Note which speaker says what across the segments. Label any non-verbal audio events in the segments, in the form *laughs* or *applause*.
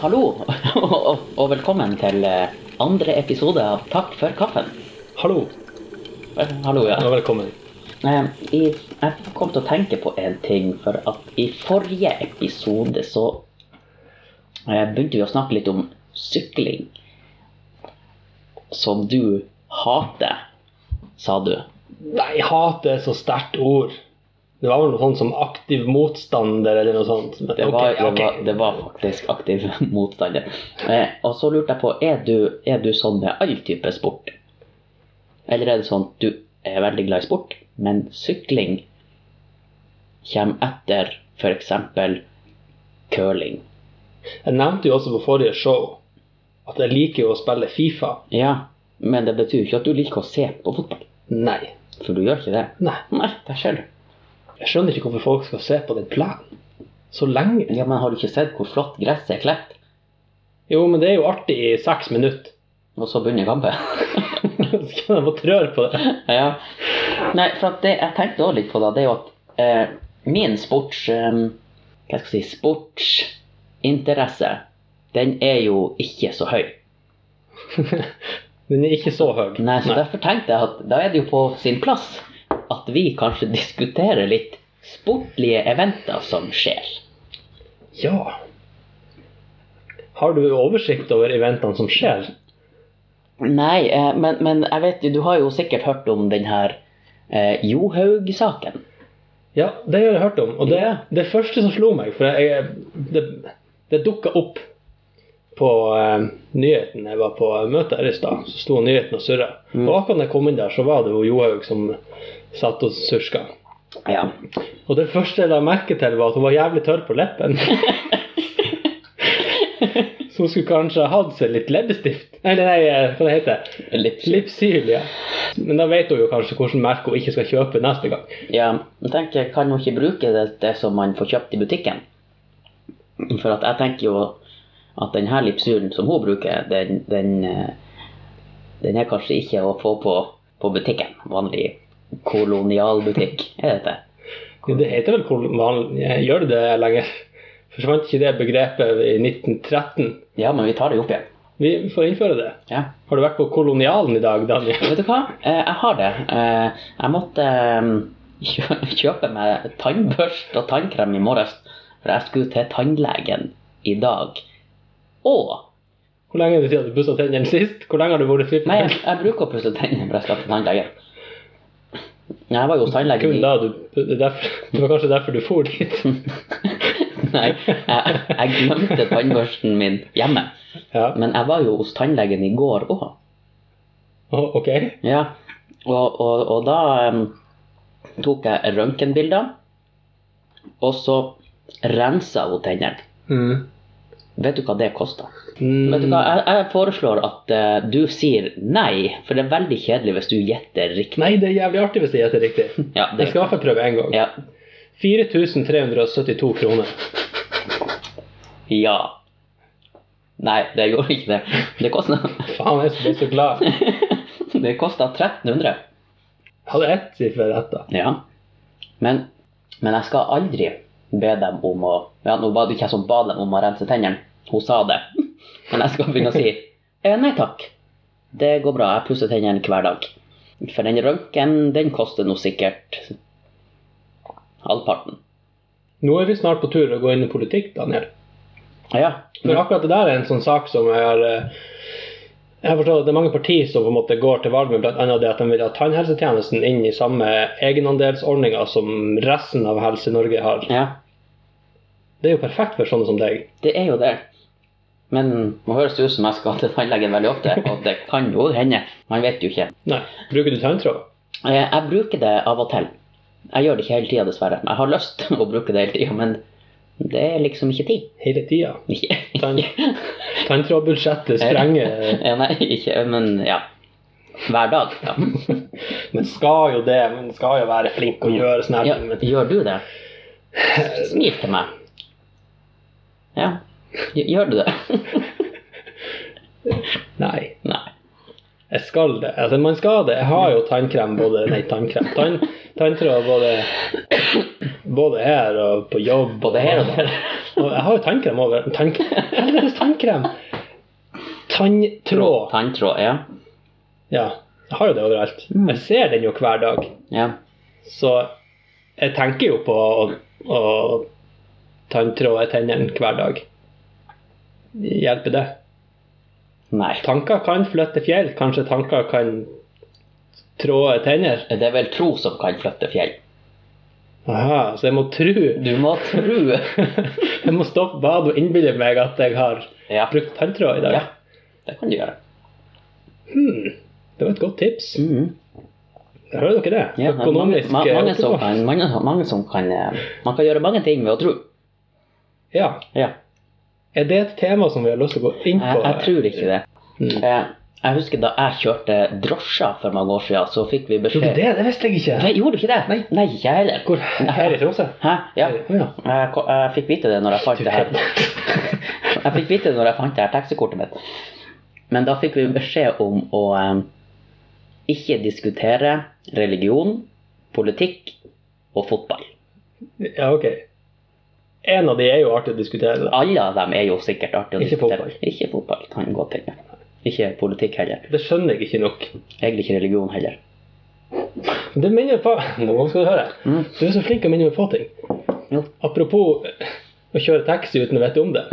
Speaker 1: hallo, og, og, og velkommen til eh, andre episode av Takk for kaffen.
Speaker 2: Hallo,
Speaker 1: Eh, Hallo, ja.
Speaker 2: og velkommen.
Speaker 1: Eh, I, jeg kom til å tenke på en ting, for at i forrige episode så eh, begynte vi å snakke litt om sykling. Som du hater, sa du.
Speaker 2: Nei, hat er så sterkt ord. Det var vel noe sånt som aktiv motstander eller noe sånt. Men
Speaker 1: Det var,
Speaker 2: ok,
Speaker 1: det
Speaker 2: ok.
Speaker 1: var, det var faktisk aktiv *laughs* motstander. Eh, og så lurte jeg på, er du, er du sånn med all type sport? Eller er det sånn at du er veldig glad i sport, men sykling kommer etter f.eks. curling?
Speaker 2: Jeg nevnte jo også på forrige show at jeg liker jo å spille Fifa.
Speaker 1: Ja, men det betyr jo ikke at du liker å se på fotball.
Speaker 2: Nei.
Speaker 1: For du gjør ikke det.
Speaker 2: Nei.
Speaker 1: Nei, der ser du.
Speaker 2: Jeg skjønner ikke hvorfor folk skal se på den plenen så lenge.
Speaker 1: Ja, men har du ikke sett hvor flott gresset er kledt?
Speaker 2: Jo, men det er jo artig i seks minutter. *laughs*
Speaker 1: Og så begynner kampen.
Speaker 2: så kan jeg få trør på det.
Speaker 1: Ja. Nei, for at det jeg tenkte også litt på da, det er jo at eh, min sports... Eh, hva skal jeg si? Sportsinteresse, den er jo ikke så høy.
Speaker 2: Den er ikke så høy.
Speaker 1: Nei, så derfor tenkte jeg at da er det jo på sin plass at vi kanskje *laughs* diskuterer litt sportlige eventer som skjer.
Speaker 2: Ja. Har du oversikt over eventene som skjer?
Speaker 1: Nei, eh, men, men jeg vet jo, du har jo sikkert hørt om den her eh, Johaug-saken.
Speaker 2: Ja, det har jeg hørt om. Og det, det første som slo meg, for jeg, det, det dukka opp på eh, nyheten jeg var på møte her i stad, så sto nyheten og surra.
Speaker 1: Mm.
Speaker 2: Og akkurat da jeg kom inn der, så var det jo Johaug som satt og surska.
Speaker 1: Ja.
Speaker 2: Og det første jeg la merke til, var at hun var jævlig tørr på leppen. så hun skulle kanskje ha hatt seg litt leppestift. Nei, nei, nei, hva det heter det?
Speaker 1: Litt
Speaker 2: Lipsyl, ja. Men da vet hun jo kanskje hvilket merke hun ikke skal kjøpe neste gang.
Speaker 1: Ja, jeg tenker, kan hun ikke bruke det, det som man får kjøpt i butikken? For at jeg tenker jo at denne lipsylen som hun bruker, den, den, eh, den er kanskje ikke å få på, på butikken. Vanlig kolonialbutikk, er dette.
Speaker 2: Ja, Det heter vel kolonial... Gjør det det lenger? Forsvant ikke det begrepet i 1913?
Speaker 1: Ja, men vi tar det opp igjen.
Speaker 2: Vi får innføre det.
Speaker 1: Ja.
Speaker 2: Har du vært på kolonialen i dag, Daniel?
Speaker 1: Vet du hva? Eh, Jeg har det. Eh, Jeg måtte eh, kjø- kjøpe meg tannbørst og tannkrem i morges, for jeg skulle til tannlegen i dag. Og
Speaker 2: Hvor lenge er det siden du pussa tennene sist? Hvor lenge har du vært fri på
Speaker 1: Nei, jeg,
Speaker 2: tennene?
Speaker 1: jeg bruker å pusse tennene når jeg skal til tannlegen. Nei, Jeg var jo hos tannlegen
Speaker 2: Kun
Speaker 1: i
Speaker 2: da du det, er derfor, det var kanskje derfor du for dit.
Speaker 1: Nei, jeg, jeg glemte tannbørsten min hjemme.
Speaker 2: Ja,
Speaker 1: Men jeg var jo hos tannlegen i går òg.
Speaker 2: Å, OK.
Speaker 1: Ja. Og, og, og da em, tok jeg røntgenbilder, og så rensa hun tennene.
Speaker 2: Mm.
Speaker 1: Vet du hva det kosta?
Speaker 2: Mm.
Speaker 1: Vet du hva, jeg, jeg foreslår at eh, du sier nei, for det er veldig kjedelig hvis du gjetter riktig.
Speaker 2: Nei, det er jævlig artig hvis jeg gjetter riktig.
Speaker 1: *laughs* Ja,
Speaker 2: Jeg
Speaker 1: det,
Speaker 2: skal i hvert fall prøve en gang.
Speaker 1: ja,
Speaker 2: 4372 kroner.
Speaker 1: Ja. Nei, det gjorde ikke det. Det kosta
Speaker 2: Faen, jeg er så glad.
Speaker 1: Det kosta 1300.
Speaker 2: Jeg hadde ett siffer rett, da.
Speaker 1: Ja. Men, men jeg skal aldri be dem om å Ja, nå var det ikke jeg som ba dem om å rense tennene. Hun sa det. Men jeg skal begynne å si eh, nei takk. Det går bra. Jeg pusser tennene hver dag. For den røntgen, den koster nå sikkert halvparten.
Speaker 2: Nå er vi snart på tur å gå inn i politikk, Daniel.
Speaker 1: Ja.
Speaker 2: For akkurat det der er en sånn sak som jeg har eh, Jeg har forstått at det er mange partier som på en måte går til valg med bl.a. det at de vil ha tannhelsetjenesten inn i samme egenandelsordninger som resten av Helse-Norge har.
Speaker 1: ja.
Speaker 2: Det er jo perfekt for sånne som deg.
Speaker 1: Det er jo det. Men nå høres det ut som jeg skal til tannlegen veldig ofte, og det kan jo hende. Man vet jo ikke.
Speaker 2: Nei. Bruker du tanntråd?
Speaker 1: Eh, Jeg bruker det av og til. Jeg gjør det ikke hele tida, dessverre. Jeg har lyst til å bruke det hele tida, men det er liksom ikke tid.
Speaker 2: Hele tida.
Speaker 1: Ikke,
Speaker 2: Tann,
Speaker 1: *laughs*
Speaker 2: tanntrådbudsjettet sprenger
Speaker 1: ja, nei, ikke, men ja. Hver dag, ja.
Speaker 2: Men skal jo det. Men skal jo være flink og gjøre sånne
Speaker 1: ja
Speaker 2: her ting. men-
Speaker 1: gjør du det? Smil til meg. Ja. Gjør du det? *laughs*
Speaker 2: Nei.
Speaker 1: Nei.
Speaker 2: Jeg skal det. Altså, man skal det. Jeg har jo tannkrem både Nei, tannkrem. Tann, tanntråd både, både her og på jobb.
Speaker 1: Både her og der.
Speaker 2: Og jeg har jo tannkrem over. Tann... Helvetes tannkrem! Tanntråd.
Speaker 1: Tanntråd, ja.
Speaker 2: Ja. Jeg har jo det overalt.
Speaker 1: Mm.
Speaker 2: Jeg ser den jo hver dag.
Speaker 1: ja.
Speaker 2: Så jeg tenker jo på å, å tanntråde tennene hver dag. Hjelper det?
Speaker 1: Nei.
Speaker 2: Tanker kan flytte fjell. Kanskje tanker kan tråde tenner?
Speaker 1: Det er vel tro som kan flytte fjell.
Speaker 2: Aha, så jeg må
Speaker 1: *laughs*
Speaker 2: tro.
Speaker 1: Du må tro.
Speaker 2: jeg må stoppe badet og innbille meg at jeg har
Speaker 1: Ja.
Speaker 2: brukt tanntråd i dag.
Speaker 1: ja. Det kan du gjøre.
Speaker 2: Hmm, det var et godt tips.
Speaker 1: Mhm.
Speaker 2: Hører dere det?
Speaker 1: Ja, men mange,
Speaker 2: Økonomisk
Speaker 1: ma-
Speaker 2: eh,
Speaker 1: mange, som
Speaker 2: oppegående.
Speaker 1: kan, mange, mange som kan eh, Man kan gjøre mange ting med å tro.
Speaker 2: Ja.
Speaker 1: Ja.
Speaker 2: Er det et tema som vi har lyst til å gå inn på?
Speaker 1: Jeg, jeg tror ikke det.
Speaker 2: Mm.
Speaker 1: Eh, Jeg husker da jeg kjørte drosja for mange år siden, så fikk vi
Speaker 2: Tror du
Speaker 1: beskjed
Speaker 2: det? Det visste jeg ikke.
Speaker 1: Nei, Gjorde du ikke det? Nei, ikke jeg heller.
Speaker 2: Hvor? Her i Tromsø?
Speaker 1: Hæ? Ja.
Speaker 2: ja.
Speaker 1: Jeg, ko- jeg fikk vite det når jeg fant
Speaker 2: Du
Speaker 1: det her.
Speaker 2: kødder.
Speaker 1: Jeg fikk vite det når jeg fant det her taxikortet mitt. Men da fikk vi beskjed om å eh, ikke diskutere religion, politikk og fotball.
Speaker 2: *laughs* Ja, ok. En av de er jo artig å diskutere.
Speaker 1: Alle av dem er jo sikkert artig å
Speaker 2: Ikke
Speaker 1: diskutere.
Speaker 2: fotball.
Speaker 1: Ikke fotball. Kan gå til. Ikke politikk heller.
Speaker 2: Det skjønner jeg ikke nok.
Speaker 1: Egentlig ikke religion heller. *laughs*
Speaker 2: Det minner meg på *laughs* Nå skal du høre.
Speaker 1: Mm.
Speaker 2: Du er så flink til å minne meg på ting.
Speaker 1: Jo.
Speaker 2: Apropos eh, å kjøre taxi uten å vite om det.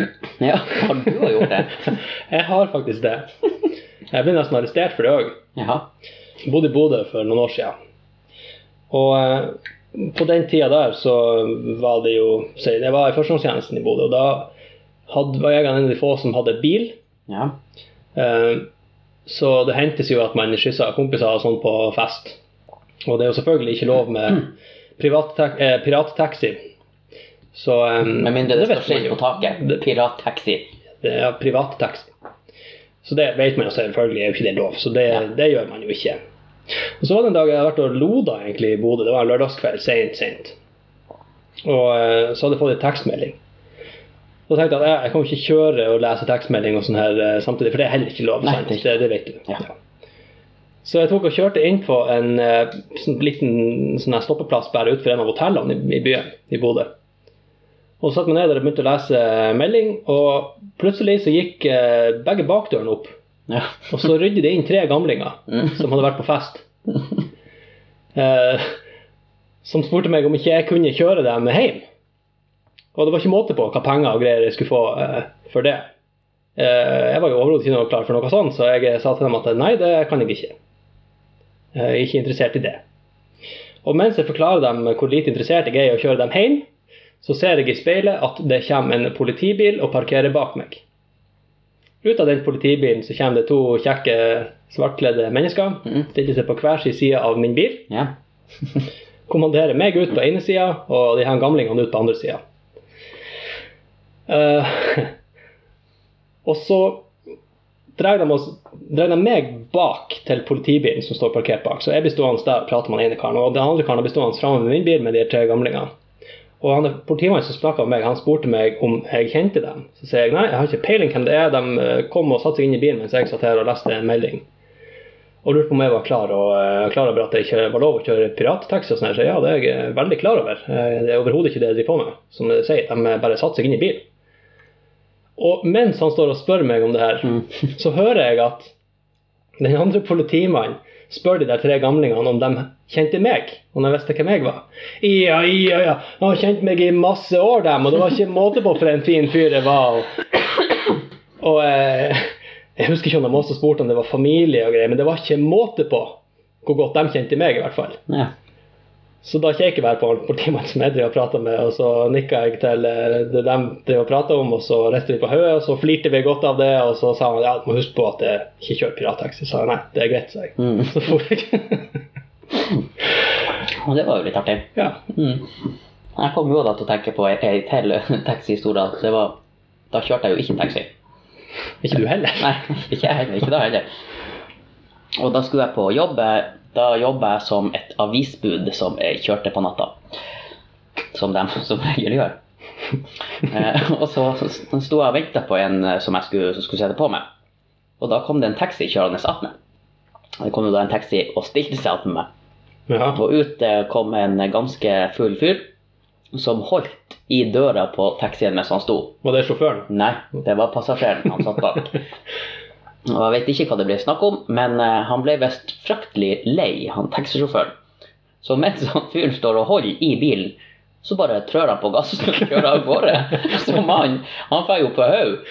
Speaker 1: Ja, har du har gjort det?
Speaker 2: *laughs* Jeg har faktisk det. Jeg ble nesten arrestert for det òg.
Speaker 1: Jaha.
Speaker 2: Bodde i Bodø for noen år siden. Og eh, på den tida der så var det jo si, Jeg var i førsteårstjenesten i Bodø, og da hadde, var jeg en av de få som hadde bil.
Speaker 1: Ja.
Speaker 2: Eh, Så det hentes jo at man kysser kompiser og sånn på fest. Og det er jo selvfølgelig ikke lov med privatta- eh, pirattaxi. Så eh,
Speaker 1: Med mindre det,
Speaker 2: vet
Speaker 1: står skilt
Speaker 2: man jo.
Speaker 1: på taket.
Speaker 2: Det-
Speaker 1: Pirattaxi.
Speaker 2: Det er privattaxi. Så det vet man jo selvfølgelig er jo ikke det lov, så det,
Speaker 1: Ja.
Speaker 2: det gjør man jo ikke. Og så var det en dag jeg hadde vært og loda egentlig i Bodø. Det var en lørdagskveld, sent, sent. Og eh, så hadde jeg fått en tekstmelding. Og da tenkte jeg at jeg, jeg kan jo ikke kjøre og lese tekstmelding og sånn her eh, samtidig, for det er heller ikke lov.
Speaker 1: Nei,
Speaker 2: sant?
Speaker 1: det er ikke
Speaker 2: Det, det vet du.
Speaker 1: Ja.
Speaker 2: Så jeg tok og kjørte inn på en eh, sånn liten sånn her stoppeplass bare utenfor en av hotellene i, i byen, i Bodø. Og så satte jeg meg ned der og begynte å lese eh, melding, og plutselig så gikk eh, begge bakdørene opp.
Speaker 1: Ja.
Speaker 2: Og så rydde det inn tre gamlinger
Speaker 1: Mm.
Speaker 2: som hadde vært på fest. Eh, som spurte meg om ikke jeg kunne kjøre dem hjem. Og det var ikke måte på hva penger og greier jeg skulle få eh, for det. Eh, jeg var jo overhodet ikke noe klar for noe sånt, så jeg eh, sa til dem at nei, det kan jeg ikke. Eh, jeg er ikke interessert i det. Og mens jeg forklarer dem hvor lite interessert jeg er i å kjøre dem hjem, så ser jeg i speilet at det kommer en politibil og parkerer bak meg. Ut av den politibilen så kommer det to kjekke, svartkledde mennesker.
Speaker 1: Mm.
Speaker 2: Stiller seg på hver sin side av min bil.
Speaker 1: ja.
Speaker 2: Kommanderer meg ut på ene sida og de her gamlingene ut på andre sida. *laughs* og så drar de, oss, drar de meg bak til politibilen som står parkert bak. Så jeg blir stående der og prater med den ene karen. Og den andre karen blir stående framme med min bil med de tre gamlingene. Og han, politimannen som snakka med meg, han spurte meg om jeg kjente dem. Så sier jeg nei, jeg har ikke peiling hvem det er. De eh, kom og satte seg inn i bilen mens jeg satt her og leste en melding. Og lurte på om jeg var klar, og, eh, klar over at det ikke var lov å kjøre pirattaxi og sånn. her. Så ja, det er jeg eh, veldig klar over. Eh, Det er overhodet ikke det jeg driver på med. Som jeg sier, de eh, bare satte seg inn i bilen. Og mens han står og spør meg om det her,
Speaker 1: Mm. *laughs*
Speaker 2: så hører jeg at den andre politimannen spør de der tre gamlingene om de kjente meg, om de visste hvem jeg var. Ja, ja, ja, de har kjent meg i masse år, dem, og det var ikke måte på for en fin fyr jeg var. Og, og eh, jeg husker ikke om de også spurte om det var familie og greier, men det var ikke måte på hvor godt de kjente meg, i hvert fall.
Speaker 1: ja.
Speaker 2: Så da kikker jeg bare på han politimannen som jeg driver og prater med, og så nikker jeg til eh, det de driver og prater om, og så rister vi på hodet, og så flirte vi godt av det, og så sa han ja, du må huske på at jeg ikke kjører pirattaxi. Så jeg nei, det er greit, sa jeg. *laughs*
Speaker 1: Mm.
Speaker 2: Så for jeg. *laughs*
Speaker 1: Og det var jo litt artig.
Speaker 2: ja.
Speaker 1: Mm. Jeg kom jo da til å tenke på ei- ei til *laughs* taxihistorie. Det var Da kjørte jeg jo ikke taxi.
Speaker 2: Ikke du heller?
Speaker 1: Nei, *laughs* ikke jeg heller. Ikke da heller. Og da skulle jeg på jobb. Jeg- Da jobba jeg som et avisbud som jeg kjørte på natta. Som de *laughs* som regel gjør. Eh, og så sto jeg og venta på en eh, som jeg skulle, som skulle sette på meg. Og da kom det en taxi kjørende attmed. Det kom jo da en taxi og stilte seg attmed meg.
Speaker 2: Ja.
Speaker 1: Og ut eh, kom en ganske full fyr som holdt i døra på taxien mens han sto.
Speaker 2: Var det *laughs* sjåføren?
Speaker 1: Nei, det var passasjeren han satt bak. Og jeg vet ikke hva det ble snakk om, men eh, han ble visst fryktelig lei, han taxisjåføren. Så mens han fyren står og holder i bilen, så bare trør han på gassen og kjører av gårde. *laughs* Så mannen, han får jo på haug.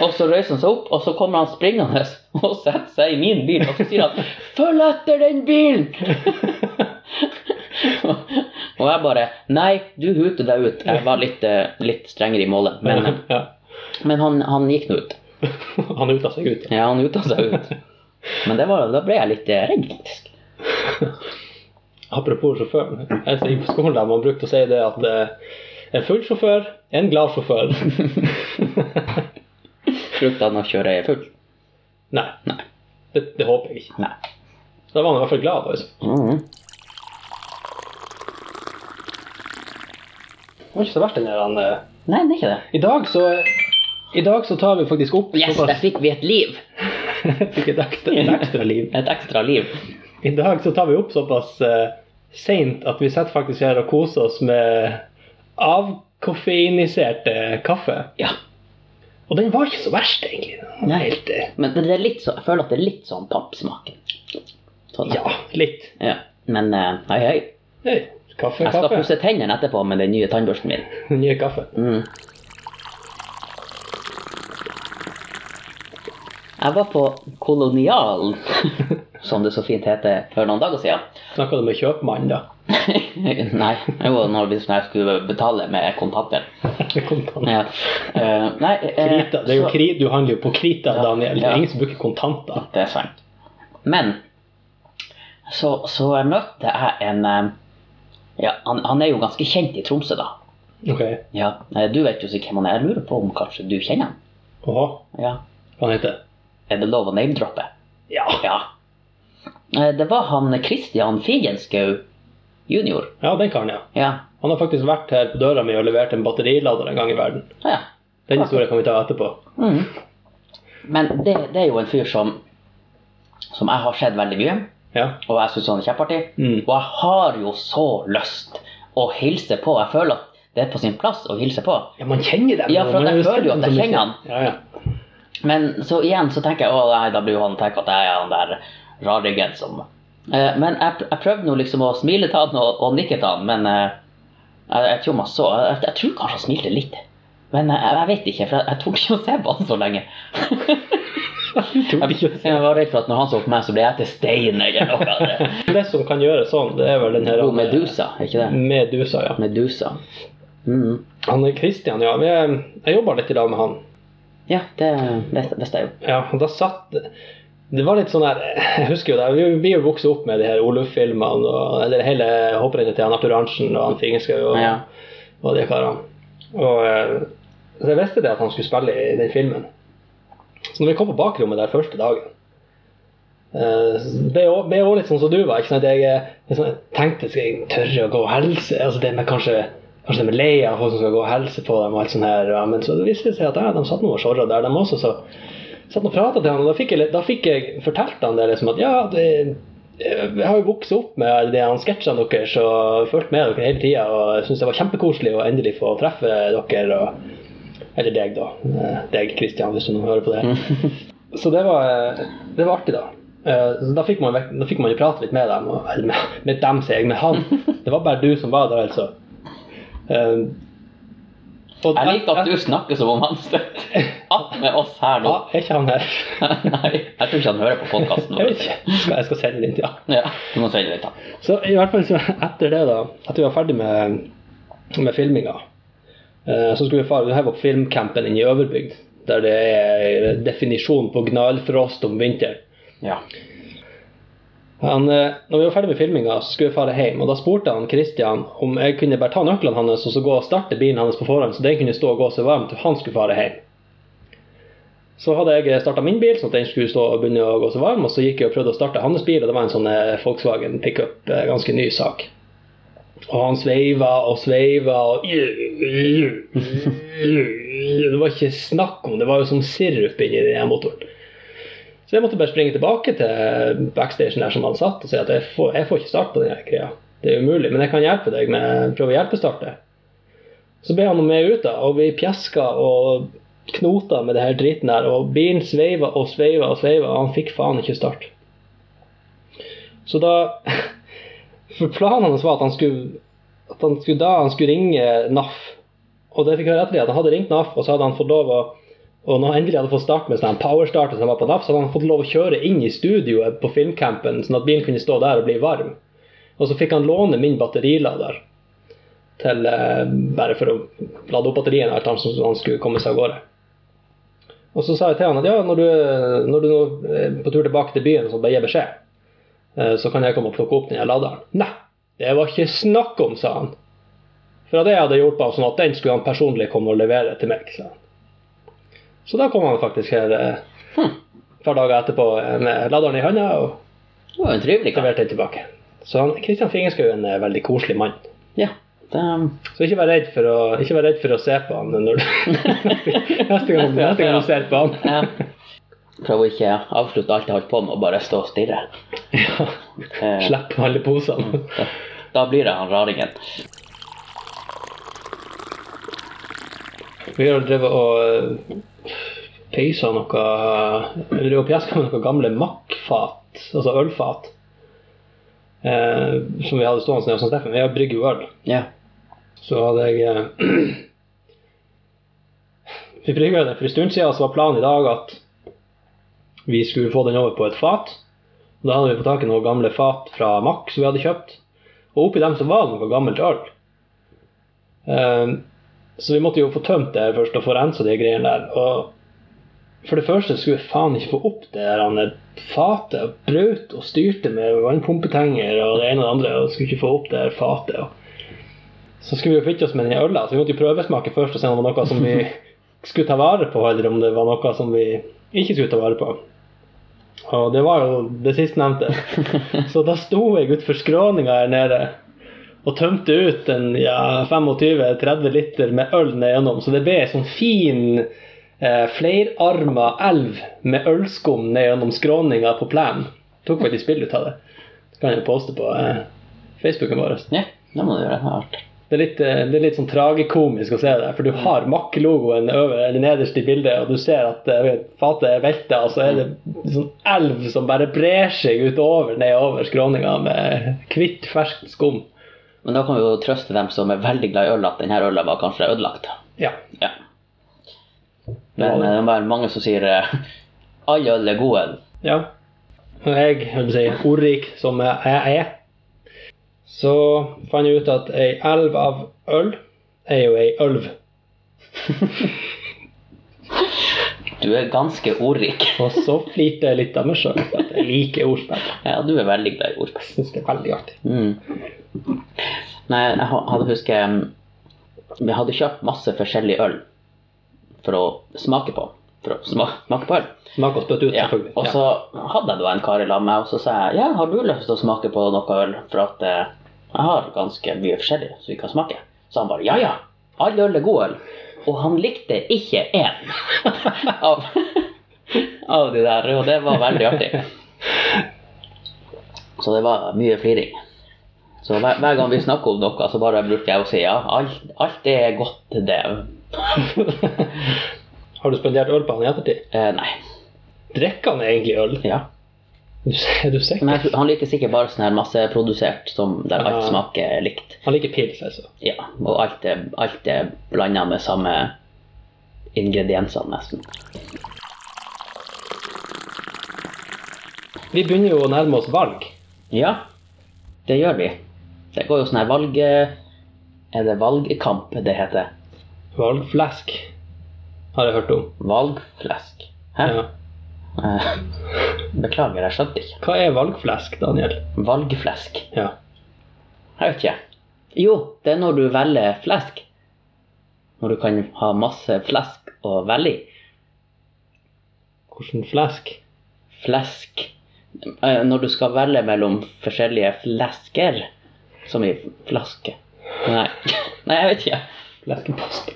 Speaker 1: Og så reiser han seg opp, og så kommer han springende *laughs* og setter seg i min bil. Og så sier han 'følg etter den bilen'! *laughs* og jeg bare 'nei, du huter deg ut'. Jeg var litt, eh, litt strengere i målet, men,
Speaker 2: ja. *laughs*
Speaker 1: men han, han gikk nå ut.
Speaker 2: Han uta seg ut.
Speaker 1: Ja, han huta seg ut. Men det var, da ble jeg litt eh, redd, faktisk.
Speaker 2: Apropos sjåføren. Jeg gikk på skolen der man brukte å si det at eh, en full sjåfør, en glad sjåfør. *laughs*
Speaker 1: Frykta han å kjøre full?
Speaker 2: Nei.
Speaker 1: Nei.
Speaker 2: Det, det håper jeg ikke.
Speaker 1: Nei.
Speaker 2: Da var han i hvert fall glad. Altså.
Speaker 1: Mhm.
Speaker 2: Det var ikke så verst den der han eh.
Speaker 1: Nei, det er ikke det.
Speaker 2: I dag så I dag så tar vi faktisk opp
Speaker 1: Yes, der
Speaker 2: *laughs*
Speaker 1: fikk vi et liv!
Speaker 2: Fikk et ekstra, et ekstra liv.
Speaker 1: Et ekstra liv.
Speaker 2: I dag så tar vi opp såpass uh, seint at vi sitter faktisk her og koser oss med avkoffeinisert eh, kaffe.
Speaker 1: Ja.
Speaker 2: Og den var ikke så verst, egentlig. Den var
Speaker 1: Nei.
Speaker 2: Helt, eh,
Speaker 1: Men det er litt så, jeg føler at det er litt sånn pappsmaken. Sånn.
Speaker 2: ja, litt.
Speaker 1: Ja. Men eh, hei, hei.
Speaker 2: Hey, kaffe,
Speaker 1: Jeg skal
Speaker 2: kaffe. *laughs*
Speaker 1: pusse tennene etterpå med den nye tannbørsten min.
Speaker 2: Nye kaffe.
Speaker 1: Mm. Jeg var på Kolonialen, *laughs* som det så fint heter, for noen dager siden. *laughs*
Speaker 2: Snakka du med kjøpmannen, da? *laughs*
Speaker 1: Nei, det var når vi når jeg skulle betale med kontanter.
Speaker 2: Kontanter.
Speaker 1: Ja. Eh, nei, eh,
Speaker 2: Krita. Det er jo
Speaker 1: så-
Speaker 2: kri, du handler jo på krita,
Speaker 1: Ja,
Speaker 2: Daniel. Det
Speaker 1: ja.
Speaker 2: er ingen som bruker kontanter.
Speaker 1: Det er sant. Men så, så jeg møtte jeg en eh, ja, han, han er jo ganske kjent i Tromsø, da.
Speaker 2: Ok.
Speaker 1: Ja, eh, Du vet jo sikkert hvem han er. Jeg lurer på om kanskje du kjenner han?
Speaker 2: Åha.
Speaker 1: Ja.
Speaker 2: Hva han heter
Speaker 1: Er det lov å name-droppe?
Speaker 2: Ja.
Speaker 1: Ja. Eh, Det var han Christian Figenschou junior.
Speaker 2: Ja, den karen, ja.
Speaker 1: Ja.
Speaker 2: Han har faktisk vært her på døra mi og levert en batterilader en gang i verden.
Speaker 1: ja.
Speaker 2: Den
Speaker 1: Ah.
Speaker 2: historien kan vi ta etterpå.
Speaker 1: Mm. Men det, det er jo en fyr som, som jeg har sett veldig mye,
Speaker 2: Ja.
Speaker 1: og jeg syns han er kjempeartig.
Speaker 2: Mm.
Speaker 1: Og jeg har jo så lyst å hilse på. Jeg føler at det er på sin plass å hilse på.
Speaker 2: ja, man kjenner dem.
Speaker 1: Ja, for at
Speaker 2: man har
Speaker 1: jeg
Speaker 2: sett
Speaker 1: føler jo at
Speaker 2: dem
Speaker 1: jeg
Speaker 2: så
Speaker 1: kjenner
Speaker 2: mye.
Speaker 1: han.
Speaker 2: Ja, ja.
Speaker 1: Men så igjen så tenker jeg å nei, da blir jo han tenkt at jeg er han der rarryggen som eh, Men jeg, jeg prøvde nå liksom å smile til han og, og nikke til han, men eh, jeg, jeg tror man så jeg, jeg tror kanskje han smilte litt. Men eh, jeg, jeg vet ikke, for jeg, jeg torde ikke å se på han så lenge.
Speaker 2: Jeg tror
Speaker 1: Jeg,
Speaker 2: ikke å si.
Speaker 1: jeg var redd for at når han så på meg, så ble jeg til stein eller noe.
Speaker 2: Det som kan gjøre sånn, *laughs* det er Mm. vel den her
Speaker 1: Og Medusa, er ikke det?
Speaker 2: Medusa, ja.
Speaker 1: Medusa. Mm.
Speaker 2: Han er Christian, ja. Jeg, jeg jobba litt i dag med han.
Speaker 1: Ja, det visste visste jeg jo.
Speaker 2: Ja, og da satt Det var litt sånn der Jeg husker jo det. Vi vi er jo vokst opp med de her Oluf-filmene og eller hele hopprennet til han Arthur Arntzen og han Fingerskau og,
Speaker 1: Ja.
Speaker 2: og de karene. Og eh, Så jeg visste det at han skulle spille i den filmen. Så når vi kom på bakrommet der første dagen eh, så ble jeg også- ble jeg også litt sånn som du var. ikke sant? Jeg, eh, jeg sånn, tenkte skal jeg tørre å gå og helse? Altså det med kanskje Kanskje de er lei av folk som skal gå og helse på dem. og alt sånt her. Ja, men så viste det seg at ja, de satt nå og sorra der, de også. så satt og pratet til han, og da fikk jeg, da fikk jeg fortalt han det liksom at ja, det, jeg har jo vokst opp med de han sketsjene deres og fulgt med dere hele tida, og jeg syns det var kjempekoselig å endelig få treffe dere og Eller deg, da. Eh, Deg, Kristian, hvis du nå hører på det. Så det var, eh, det var artig, da. Eh, Så da fikk man, vekk- da fikk man jo prate litt med dem. og- Eller med, med dem, sier jeg. Med han. Det var bare du som var der, altså. Eh, og-
Speaker 1: Jeg liker at du snakker som om han støtter att med oss her nå.
Speaker 2: Ja, er ikke han her?
Speaker 1: *laughs* Nei, jeg tror ikke han hører på podkasten
Speaker 2: Jeg
Speaker 1: vår.
Speaker 2: vet ikke. Skal, jeg skal sende den til ja.
Speaker 1: Ja, du må sende litt, da.
Speaker 2: Så i hvert fall så etter det, da, at vi var ferdig med, med filminga, eh, så skulle vi fare vi heiv opp filmcampen inn i Øverbygd, der det er definisjon på gnalfrost om vinteren.
Speaker 1: Ja.
Speaker 2: Han, eh, når vi var ferdig med filminga, så skulle vi fare hjem, og da spurte han Christian om jeg kunne bare ta nøklene hans og så gå og starte bilen hans på forhånd, så den kunne stå og gå så varmt til han skulle fare hjem. Så hadde jeg starta min bil, sånn at den skulle stå og begynne å gå så varm, og så gikk jeg og prøvde å starte hans bil, og det var en sånn eh, Volkswagen pickup, eh, ganske ny sak. Og han sveiva og sveiva og *laughs* Det var ikke snakk om, det var jo som sirup inni den her motoren. Så jeg måtte bare springe tilbake til backstagen der som han satt og si at jeg får, jeg får ikke start på den her greia. Det er umulig, men jeg kan hjelpe deg med prøve å hjelpestarte. Så ble han nå med ut, da, og vi pjeska og knota med det her driten der. Og bilen sveiva og sveiva og sveiva, og han fikk faen ikke start. Så da *laughs* For planen hans var at han skulle at han skulle da han skulle ringe NAF. Og det fikk jeg høre etter det, at han hadde ringt NAF, og så hadde han fått lov å og når han endelig hadde fått start med sånn powerstarter som var på NAF, så hadde han fått lov å kjøre inn i studioet på filmcampen, sånn at bilen kunne stå der og bli varm. Og så fikk han låne min batterilader til eh, bare for å lade opp batteriene alt annet som han skulle komme seg av gårde. Og så sa jeg til han at ja, når du, når du nå er på tur tilbake til byen, så bare gi beskjed. Eh, Så kan jeg komme og plukke opp den her laderen. Nei, det var ikke snakk om, sa han. For det jeg hadde hjulpet ham sånn at den skulle han personlig komme og levere til meg, sa han. Så da kom han faktisk her eh,
Speaker 1: Hm.
Speaker 2: et par dager etterpå eh, med laderen i hånda og
Speaker 1: Det var jo en trivelig kar.
Speaker 2: leverte den tilbake. Så han, Kristian Fingerskau er en eh, veldig koselig mann.
Speaker 1: Ja. Det, um,
Speaker 2: Så ikke vær redd for å, ikke vær redd for å se på han når du, *laughs* neste, gang, neste gang du ser på han. *laughs*
Speaker 1: ja. Prøver å ikke avslutte alt jeg holdt på med, og bare stå og stirre.
Speaker 2: Ja.
Speaker 1: Eh,
Speaker 2: Slipp alle posene.
Speaker 1: da, da blir det han raringen.
Speaker 2: Vi har drevet og eh, peisa noe Eller drevet og pjeska med noen gamle makkfat, altså ølfat, eh, som vi hadde stående nede hos Steffen. Vi har brygger jo øl.
Speaker 1: Ja.
Speaker 2: Så hadde jeg eh, *clears throat* Vi brygga den for en stund siden, så var planen i dag at vi skulle få den over på et fat. Da hadde vi fått tak i noen gamle fat fra Mack som vi hadde kjøpt. Og oppi dem så var det noe gammelt øl. Eh, så vi måtte jo få tømt det her først og få rensa de greiene der. Og for det første skulle jeg faen ikke få opp det der han der fatet. og Brøt og styrte med vannpumpetenger og det ene og det andre. Og skulle ikke få opp det der fatet. og så skulle vi jo kvitte oss med den øla, så vi måtte jo prøvesmake først og se om det var noe som vi skulle ta vare på, eller om det var noe som vi ikke skulle ta vare på. Og det var jo det sistnevnte. Så da sto jeg utfor skråninga her nede og tømte ut en ja, 25-30 liter med øl ned gjennom, så det ble ei sånn fin eh, flerarma elv med ølskum ned gjennom skråninga på plenen. Tok faktisk spill ut av det. Det kan jeg poste på eh, Facebooken vår.
Speaker 1: ja, det må du gjøre. Det er artig.
Speaker 2: Det er, litt, eh, det er litt sånn tragikomisk å se det, for du har Mack-logoen over eller nederst i bildet, og du ser at eh, fatet er velta, og så er det en sånn elv som bare brer seg utover nedover skråninga med hvitt, ferskt skum.
Speaker 1: Men da kan vi jo trøste dem som er veldig glad i øl, at denne øla var kanskje ødelagt.
Speaker 2: Ja.
Speaker 1: Ja. Men eh, det er bare mange som sier eh, *laughs* all øl er god øl.
Speaker 2: ja. Og jeg, jeg vil si, ordrik som jeg er, så fant jeg ut at ei elv av øl er jo ei ølv.
Speaker 1: Du er ganske ordrik.
Speaker 2: Og så flirte jeg litt av meg sjøl, at jeg liker ordspill.
Speaker 1: Ja, du er veldig glad i ordspill.
Speaker 2: Jeg syns det er veldig artig.
Speaker 1: Mm. Nei, jeg ha- hadde husket um, Vi hadde kjøpt masse forskjellig øl for å smake på. For å sma smake på øl.
Speaker 2: Smak og spytt ut,
Speaker 1: Ja.
Speaker 2: selvfølgelig.
Speaker 1: Og så hadde jeg da en kar i lag med meg, og så sa jeg ja, har du lyst til å smake på noe øl? For at eh, jeg har ganske mye forskjellig som vi kan smake. Så han bare ja, ja. All øl er god øl. Og han likte ikke én *laughs* av, av de der, og det var veldig artig. Så det var mye fliring. Så hver, hver gang vi snakker om noe, så bare bruker jeg å si ja, alt, alt er godt, det.
Speaker 2: Har du spandert øl på han i ettertid?
Speaker 1: Eh, nei.
Speaker 2: Drikker han egentlig øl?
Speaker 1: Ja.
Speaker 2: Du, er du sikker?
Speaker 1: Men jeg, tror- han liker sikkert bare sånn her masseprodusert, som der alt
Speaker 2: Ja.
Speaker 1: smaker likt.
Speaker 2: Han liker pils, altså.
Speaker 1: Ja, og alt er, alt er blanda med samme ingrediensene, nesten.
Speaker 2: Vi begynner jo å nærme oss valg.
Speaker 1: Ja, det gjør vi. Det går jo sånn her valg... Er det valgkamp det heter?
Speaker 2: Valgflesk har jeg hørt om.
Speaker 1: Valgflesk. Hæ?
Speaker 2: Ja.
Speaker 1: Eh, *laughs* Beklager, jeg skjønte ikke.
Speaker 2: Hva er valgflesk, Daniel?
Speaker 1: Valgflesk.
Speaker 2: Ja.
Speaker 1: Jeg vet ikke. Jo, det er når du velger flesk. Når du kan ha masse flesk å velge i.
Speaker 2: Hvordan flesk?
Speaker 1: Flesk. Eh, Når du skal velge mellom forskjellige flesker. Som i flaske. Nei, *laughs* Nei jeg vet ikke.
Speaker 2: Fleskepost.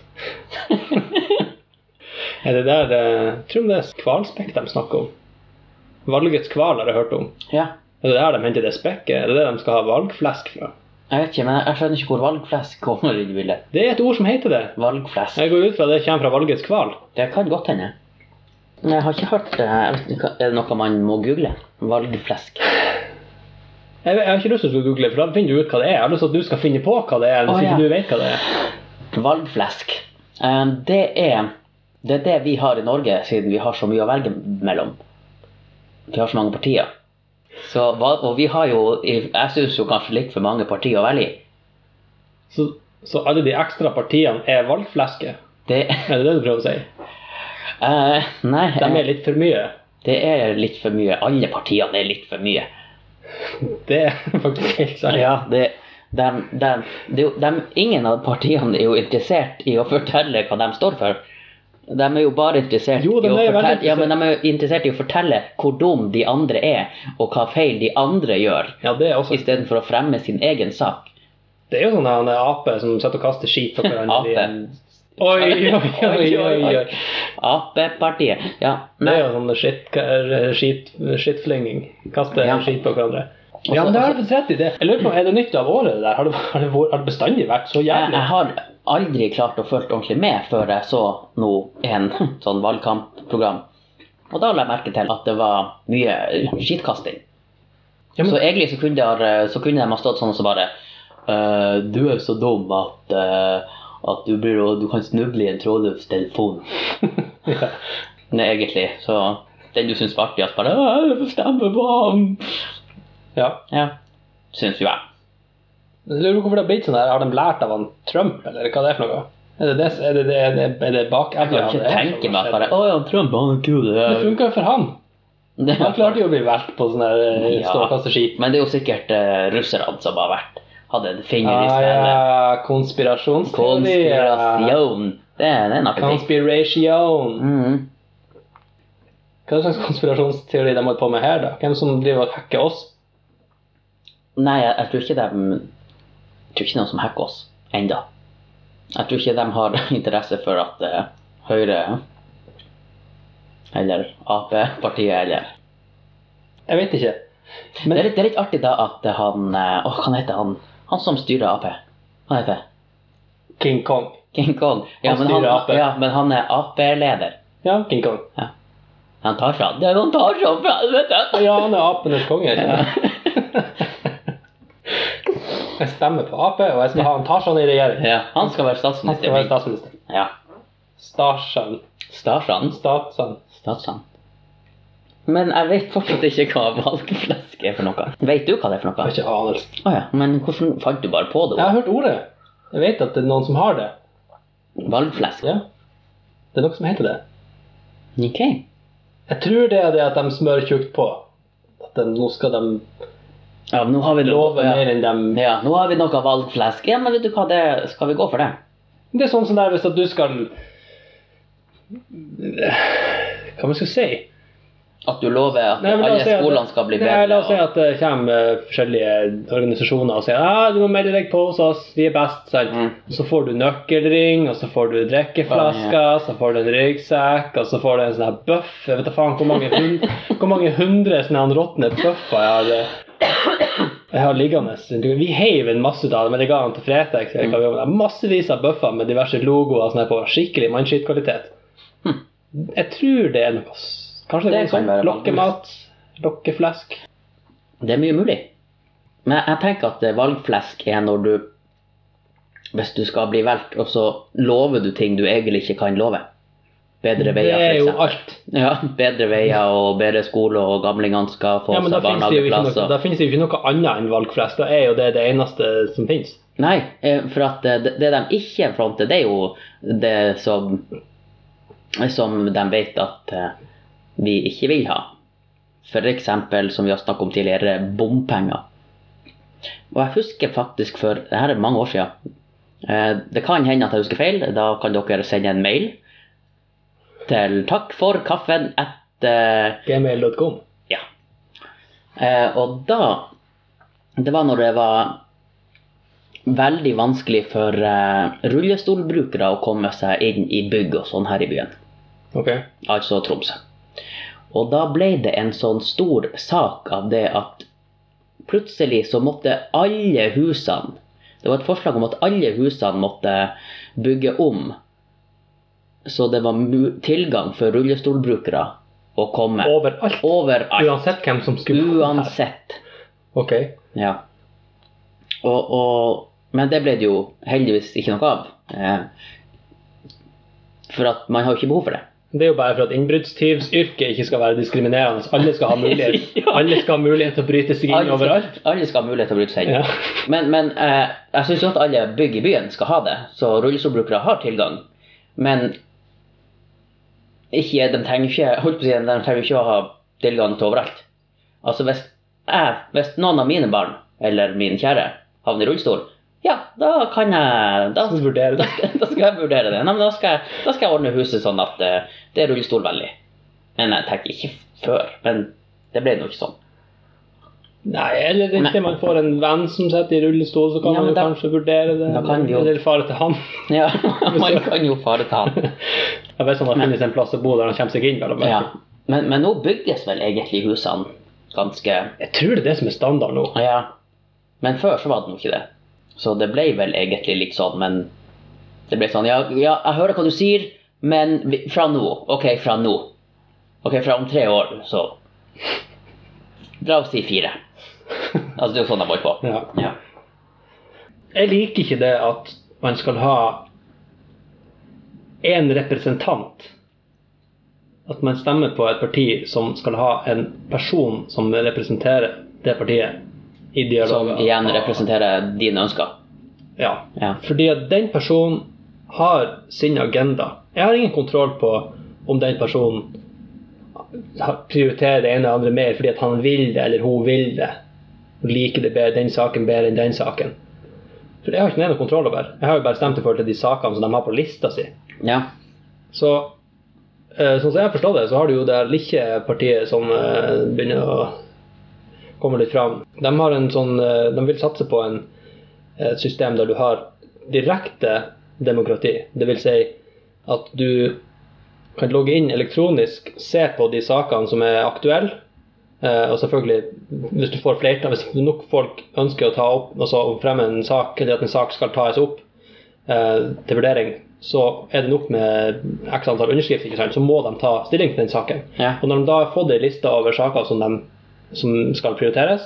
Speaker 2: er det der eh, Tror du det er hvalspekk de snakker om? Valgets hval har jeg hørt om.
Speaker 1: Ja.
Speaker 2: Er det der de henter det spekket? Er det det de skal ha valgflesk fra?
Speaker 1: Jeg vet ikke, men jeg skjønner ikke hvor valgflesk kommer inn i bildet.
Speaker 2: Det er et ord som heter det.
Speaker 1: Valgflesk.
Speaker 2: Jeg går ut fra det kommer fra valgets kval.
Speaker 1: Det kan godt hende. Men Jeg har ikke hørt eh, jeg vet ikke, Er det noe man må google? Valgflesk.
Speaker 2: Jeg, jeg har ikke lyst til å google, for da finner du ut hva det er. Jeg har lyst til at du skal finne på hva det er,
Speaker 1: Å,
Speaker 2: hvis
Speaker 1: ja.
Speaker 2: ikke du vet hva det er.
Speaker 1: Valgflesk. Eh, Det er, det er det vi har i Norge, siden vi har så mye å velge mellom. Vi har så mange partier. Så, hva- og vi har jo Jeg syns jo kanskje litt for mange partier å velge i.
Speaker 2: Så, så alle de ekstra partiene er valgfleske.
Speaker 1: Det
Speaker 2: Er det det du prøver å si?
Speaker 1: eh, Nei.
Speaker 2: De er litt for mye.
Speaker 1: Det er litt for mye. Alle partiene er litt for mye.
Speaker 2: Det er *laughs* faktisk helt sant.
Speaker 1: Ja, det, dem- dem- det er jo- dem- ingen av partiene er jo interessert i å fortelle hva de står for. De er jo bare interessert,
Speaker 2: Jo, de
Speaker 1: i, å
Speaker 2: er veldig
Speaker 1: fortelle, ja, men de er jo interessert i å fortelle hvor dum de andre er, og hva feil de andre gjør,
Speaker 2: Ja, det er også
Speaker 1: istedenfor å fremme sin egen sak.
Speaker 2: Det er jo sånne han, ape som sitter og kaster skit på hverandre.
Speaker 1: Ape.
Speaker 2: i en- Oi, oi, oi, oi, oi.
Speaker 1: Ap-partiet. Ja.
Speaker 2: Det
Speaker 1: Nei.
Speaker 2: er jo sånn skit, skit, skittflenging. Kaste
Speaker 1: Ja.
Speaker 2: skit på hverandre.
Speaker 1: Også-
Speaker 2: Ja, men det har du rett i. det. Jeg lurer på, Er det nytt av året, det der? Har det, har det, vært- har det bestandig vært så
Speaker 1: Jeg, Eh, jeg
Speaker 2: jævlig?
Speaker 1: har aldri klart å følge ordentlig med før jeg så nå en *laughs* sånn valgkampprogram. Og da la jeg merke til at det var mye skittkasting.
Speaker 2: Ja, men-
Speaker 1: Så egentlig så kunne, de, ha- så kunne de ha stått sånn som bare «Øh, Du er så dum at, øh, at du, blir, å- du kan snuble i en trådløs telefon.
Speaker 2: Ja.
Speaker 1: Nei, egentlig. Så den du syns var artigst, bare «Øh, Jeg stemmer på ham.
Speaker 2: *laughs* ja.
Speaker 1: Ja, syns jo jeg.
Speaker 2: Jeg lurer på hvorfor det har blitt sånn der. Har de lært av han Trump, eller hva det er for noe? Er det det, er det, er det, er sånn det
Speaker 1: Jeg kan
Speaker 2: bakevne?
Speaker 1: ikke tenke meg at bare Å ja, Trump, han er kul. det
Speaker 2: Det
Speaker 1: er-» *laughs*
Speaker 2: funka jo for han. Han klarte jo å bli valgt på sånn der eh,
Speaker 1: Ja.
Speaker 2: stå og kaste skit.
Speaker 1: Men det er jo sikkert eh, russerne som har vært hadde en finger i
Speaker 2: Ah,
Speaker 1: spillet.
Speaker 2: ja, konspirasjonsteori. ja.
Speaker 1: Konspirasjon. Det, er- det er en artig ting.
Speaker 2: Conspiration.
Speaker 1: Mhm.
Speaker 2: Hva slags konspirasjonsteori de holder på med her, da? Hvem som driver og hacker oss?
Speaker 1: Nei, jeg, jeg tror ikke dem Jeg tror ikke noen som hacker oss enda. Jeg tror ikke de har *laughs* interesse for at eh, Høyre eller Ap-partiet eller
Speaker 2: Jeg vet ikke. Men-
Speaker 1: det, er litt, det er litt artig da at han eh, Åh, hva heter han? Han som styrer Ap. Hva heter det?
Speaker 2: King Kong.
Speaker 1: King Kong. Ja,
Speaker 2: Han
Speaker 1: men han,
Speaker 2: styrer AP.
Speaker 1: ja, men han er Ap-leder.
Speaker 2: Ja, King Kong.
Speaker 1: Han tar seg av det. er Han tar seg av helvete!
Speaker 2: Ja, han er apenes konge. ikke sant? Jeg stemmer på Ap, og jeg skal ha han Tarzan i regjering.
Speaker 1: Ja, han skal være
Speaker 2: Han skal
Speaker 1: statsminister.
Speaker 2: være statsminister.
Speaker 1: Ja.
Speaker 2: Starsan.
Speaker 1: Starsand.
Speaker 2: Statsan.
Speaker 1: Statsand. Men jeg vet fortsatt ikke hva valgflesk er for noe. Vet du hva det er for
Speaker 2: Jeg har
Speaker 1: noe?
Speaker 2: ikke anelse.
Speaker 1: Å ja, men hvordan fant du bare på det?
Speaker 2: Jeg har hørt ordet. Jeg vet at det er noen som har det.
Speaker 1: Valgflesk?
Speaker 2: Ja. Det er noe som heter det.
Speaker 1: Ok.
Speaker 2: Jeg tror det er det at de smører tjukt på. At de, nå skal de
Speaker 1: Ja, men nå har vi det.
Speaker 2: love
Speaker 1: ja.
Speaker 2: mer enn de
Speaker 1: ja, nå har vi noe valgflesk. Ja, men vet du hva, det skal vi gå for det?
Speaker 2: Det er sånn som der hvis at du skal Hva man skal si?
Speaker 1: At du lover at
Speaker 2: Nei, men la oss
Speaker 1: alle
Speaker 2: si at-
Speaker 1: skolene skal bli bedre?
Speaker 2: Nei, la oss si
Speaker 1: og-
Speaker 2: at det kommer forskjellige organisasjoner og sier ah, du må melde deg på hos oss, vi er best. Sant?
Speaker 1: Mm.
Speaker 2: Så får du nøkkelring, og så får du drikkeflasker, så får du en ryggsekk, og så får du en sånn her bøff. Jeg vet da faen hvor mange, hun, hvor mange hundre sånne her råtne bøffer jeg har, eh, jeg har liggende. Vi heiv en masse ut av det, men det ga han til Fretex. eller hva vi gjorde med det. Massevis av bøffer med diverse logoer sånn her på skikkelig mannskittkvalitet.
Speaker 1: Hm.
Speaker 2: Jeg tror det er noe s- Kanskje det,
Speaker 1: Det
Speaker 2: er
Speaker 1: kan
Speaker 2: sånn
Speaker 1: være
Speaker 2: lokkemat, lokkeflesk.
Speaker 1: Det er mye mulig. Men jeg tenker at eh, valgflesk er når du Hvis du skal bli valgt, og så lover du ting du egentlig ikke kan love. Bedre
Speaker 2: Det
Speaker 1: veier, for
Speaker 2: er jo
Speaker 1: eksempel.
Speaker 2: alt.
Speaker 1: Ja, bedre veier og bedre skole, og gamlingene skal få
Speaker 2: Ja, men da
Speaker 1: seg
Speaker 2: finnes, det jo ikke
Speaker 1: barnehageplass.
Speaker 2: noe,
Speaker 1: og-
Speaker 2: da finnes det jo ikke noe annet enn valgflesk. Da er jo det det eneste som finnes.
Speaker 1: Nei, eh, for at eh, det det de ikke fronter, det er jo det som Som de vet at eh, vi ikke vil ha. F.eks. som vi har snakket om tidligere, bompenger. Og jeg husker faktisk for det her er mange år siden. Eh, Det kan hende at jeg husker feil. Da kan dere sende en mail til eh, takk for kaffen etter
Speaker 2: Gmail.com.
Speaker 1: Ja. Eh, og da Det var når det var veldig vanskelig for eh, rullestolbrukere å komme seg inn i bygg og sånn her i byen.
Speaker 2: Ok.
Speaker 1: Altså Tromsø. Og da ble det en sånn stor sak av det at plutselig så måtte alle husene Det var et forslag om at alle husene måtte bygge om, så det var mu- tilgang for rullestolbrukere å komme.
Speaker 2: Overalt.
Speaker 1: Overalt.
Speaker 2: Uansett hvem som skulle bo her.
Speaker 1: Uansett.
Speaker 2: Ok.
Speaker 1: Ja. Og, og, men det ble det jo heldigvis ikke noe av. Eh, for at man har jo ikke behov for det.
Speaker 2: Det er jo bare for at innbruddstyvsyrket ikke skal være diskriminerende. Alle skal ha mulighet,
Speaker 1: *laughs*
Speaker 2: alle skal ha mulighet til å bryte seg inn
Speaker 1: Alle skal,
Speaker 2: overalt.
Speaker 1: alle skal ha mulighet til å bryte seg inn.
Speaker 2: Ja.
Speaker 1: Men, men eh, jeg syns at alle bygg i byen skal ha det, så rullestolbrukere har tilgang. Men ikke, de trenger ikke, holdt på å si, de trenger ikke å ha tilgang til overalt. Altså hvis, jeg, hvis noen av mine barn, eller min kjære, havner i rullestol, ja, da kan jeg Da,
Speaker 2: Så vurdere
Speaker 1: da,
Speaker 2: det.
Speaker 1: skal, da skal jeg vurdere det. Nei, men da skal, jeg, da skal jeg ordne huset sånn at eh, det er rullestolvennlig. Men jeg tenker ikke før. Men det ble nå ikke sånn. *laughs*
Speaker 2: Nei, eller
Speaker 1: Nei.
Speaker 2: inntil man får en venn som sitter i rullestol, så kan
Speaker 1: Ja,
Speaker 2: man
Speaker 1: men
Speaker 2: jo
Speaker 1: da-
Speaker 2: kanskje vurdere det.
Speaker 1: da kan vi jo-
Speaker 2: Eller fare til han.
Speaker 1: Ja, man kan jo fare ta han.
Speaker 2: Jeg vet han har funnet seg en plass å bo der han kommer seg inn. vel å merke.
Speaker 1: Ja. Men, men nå bygges vel egentlig husene ganske
Speaker 2: Jeg tror det er det som er standard nå.
Speaker 1: Ja. Men før så var det nå ikke det. Så det ble vel egentlig litt sånn, men det ble sånn Ja, ja jeg hører hva du sier, men vi- fra nå. OK, fra nå. OK, fra om tre år, så La oss si fire. Altså, det er jo sånn de holder på.
Speaker 2: Ja.
Speaker 1: Ja.
Speaker 2: Jeg liker ikke det at man skal ha én representant. At man stemmer på et parti som skal ha en person som representerer det partiet i
Speaker 1: Som
Speaker 2: dialoger.
Speaker 1: igjen representerer dine ønsker.
Speaker 2: Ja.
Speaker 1: Ja.
Speaker 2: Fordi at den personen har sin agenda. Jeg har ingen kontroll på om den personen har- prioriterer det ene eller andre mer fordi at han vil det eller hun vil det. Og liker det bedre, den saken bedre enn den saken. For det har ikke jeg noe kontroll over. Jeg har jo bare stemt i forhold til de sakene som de har på lista si.
Speaker 1: ja.
Speaker 2: Så eh, sånn som jeg forstår det, så har du jo det lille partiet som eh, begynner å komme litt fram. De, har en sånn, eh, de vil satse på en, et system der du har direkte demokrati. Det vil si at du kan logge inn elektronisk, se på de sakene som er aktuelle. eh, og selvfølgelig, hvis du får flertall, hvis nok folk ønsker å ta opp, altså å fremme en sak, eller at en sak skal tas opp, eh, til vurdering, så er det nok med x antall underskrifter, ikke sant? så må de ta stilling til den saken.
Speaker 1: Ja.
Speaker 2: Og når de da har fått ei liste over saker som, de, som skal prioriteres,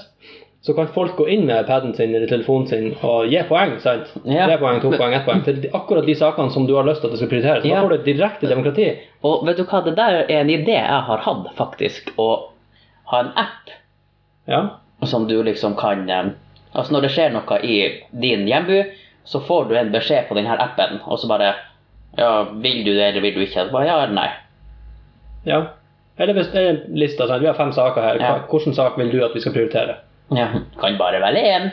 Speaker 2: så kan folk gå inn med paden sin eller telefonen sin og gi poeng. sant?
Speaker 1: Ja.
Speaker 2: Tre poeng, to poeng, ett poeng. Til de- akkurat de sakene som du har lyst til at det skal prioriteres.
Speaker 1: Ja.
Speaker 2: Da får du et direkte demokrati.
Speaker 1: Og vet du hva, det der er en idé jeg har hatt, faktisk. Å ha en app
Speaker 2: Ja.
Speaker 1: som du liksom kan eh, Altså når det skjer noe i din hjemby, så får du en beskjed på denne appen, og så bare Ja, vil du det, eller vil du ikke? Bare, ja eller nei.
Speaker 2: ja. Eller hvis det er en liste, sant? vi har fem saker her.
Speaker 1: Ja.
Speaker 2: Hva- Hvilken sak vil du at vi skal prioritere?
Speaker 1: Ja, kan bare velge én.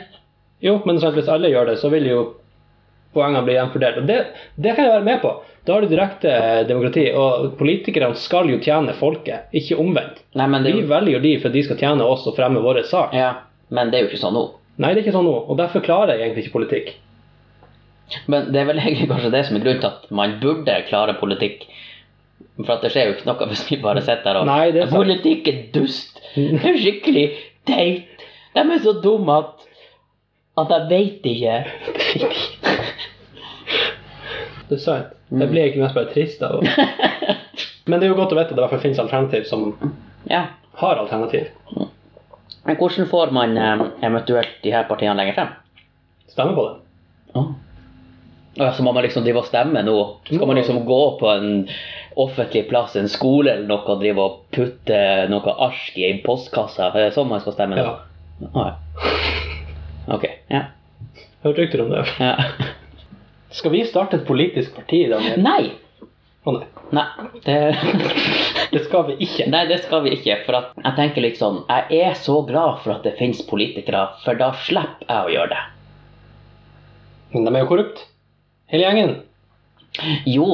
Speaker 2: Jo, men sant, hvis alle gjør det, så vil jo poengene bli gjenfordelt. Og det, det kan jeg være med på. Da har du direkte eh, demokrati. Og politikerne skal jo tjene folket, ikke omvendt.
Speaker 1: Nei, men det
Speaker 2: Vi
Speaker 1: er jo
Speaker 2: velger jo de for de skal tjene oss og fremme vår sak.
Speaker 1: Ja, men det er jo ikke sånn nå.
Speaker 2: Nei, det er ikke sånn nå. Og derfor klarer jeg egentlig ikke politikk.
Speaker 1: Men det er vel egentlig kanskje det som er grunnen til at man burde klare politikk. For at det skjer jo ikke noe hvis vi bare sitter her og
Speaker 2: Nei, det er sant.
Speaker 1: Politikk er dust. Det er skikkelig teit. De er så dumme at at jeg veit ikke.
Speaker 2: Det er sant.
Speaker 1: Mm.
Speaker 2: Jeg blir ikke mest bare trist av det.
Speaker 1: *laughs*
Speaker 2: Men det er jo godt å vite at det i hvert fall finnes alternativ som
Speaker 1: Ja.
Speaker 2: har alternativ.
Speaker 1: Men hvordan får man eh, eventuelt de her partiene lenger frem?
Speaker 2: Stemmer på det.
Speaker 1: Oh. Så må man liksom drive og stemme nå? Skal man liksom gå på en offentlig plass, en skole eller noe, og drive og putte noe ark i en postkasse? Er det sånn man skal stemme nå?
Speaker 2: Ja.
Speaker 1: Ah, ja. Ok. Ja.
Speaker 2: Hørte rykter om det.
Speaker 1: ja. *laughs*
Speaker 2: Skal vi starte et politisk parti, Daniel?
Speaker 1: Nei!
Speaker 2: Å nei.
Speaker 1: Nei, det *laughs*
Speaker 2: Det skal vi ikke.
Speaker 1: Nei, det skal vi ikke. For at jeg tenker liksom Jeg er så glad for at det finnes politikere, for da slipper jeg å gjøre det.
Speaker 2: Men de er jo korrupt. Hele gjengen.
Speaker 1: Jo,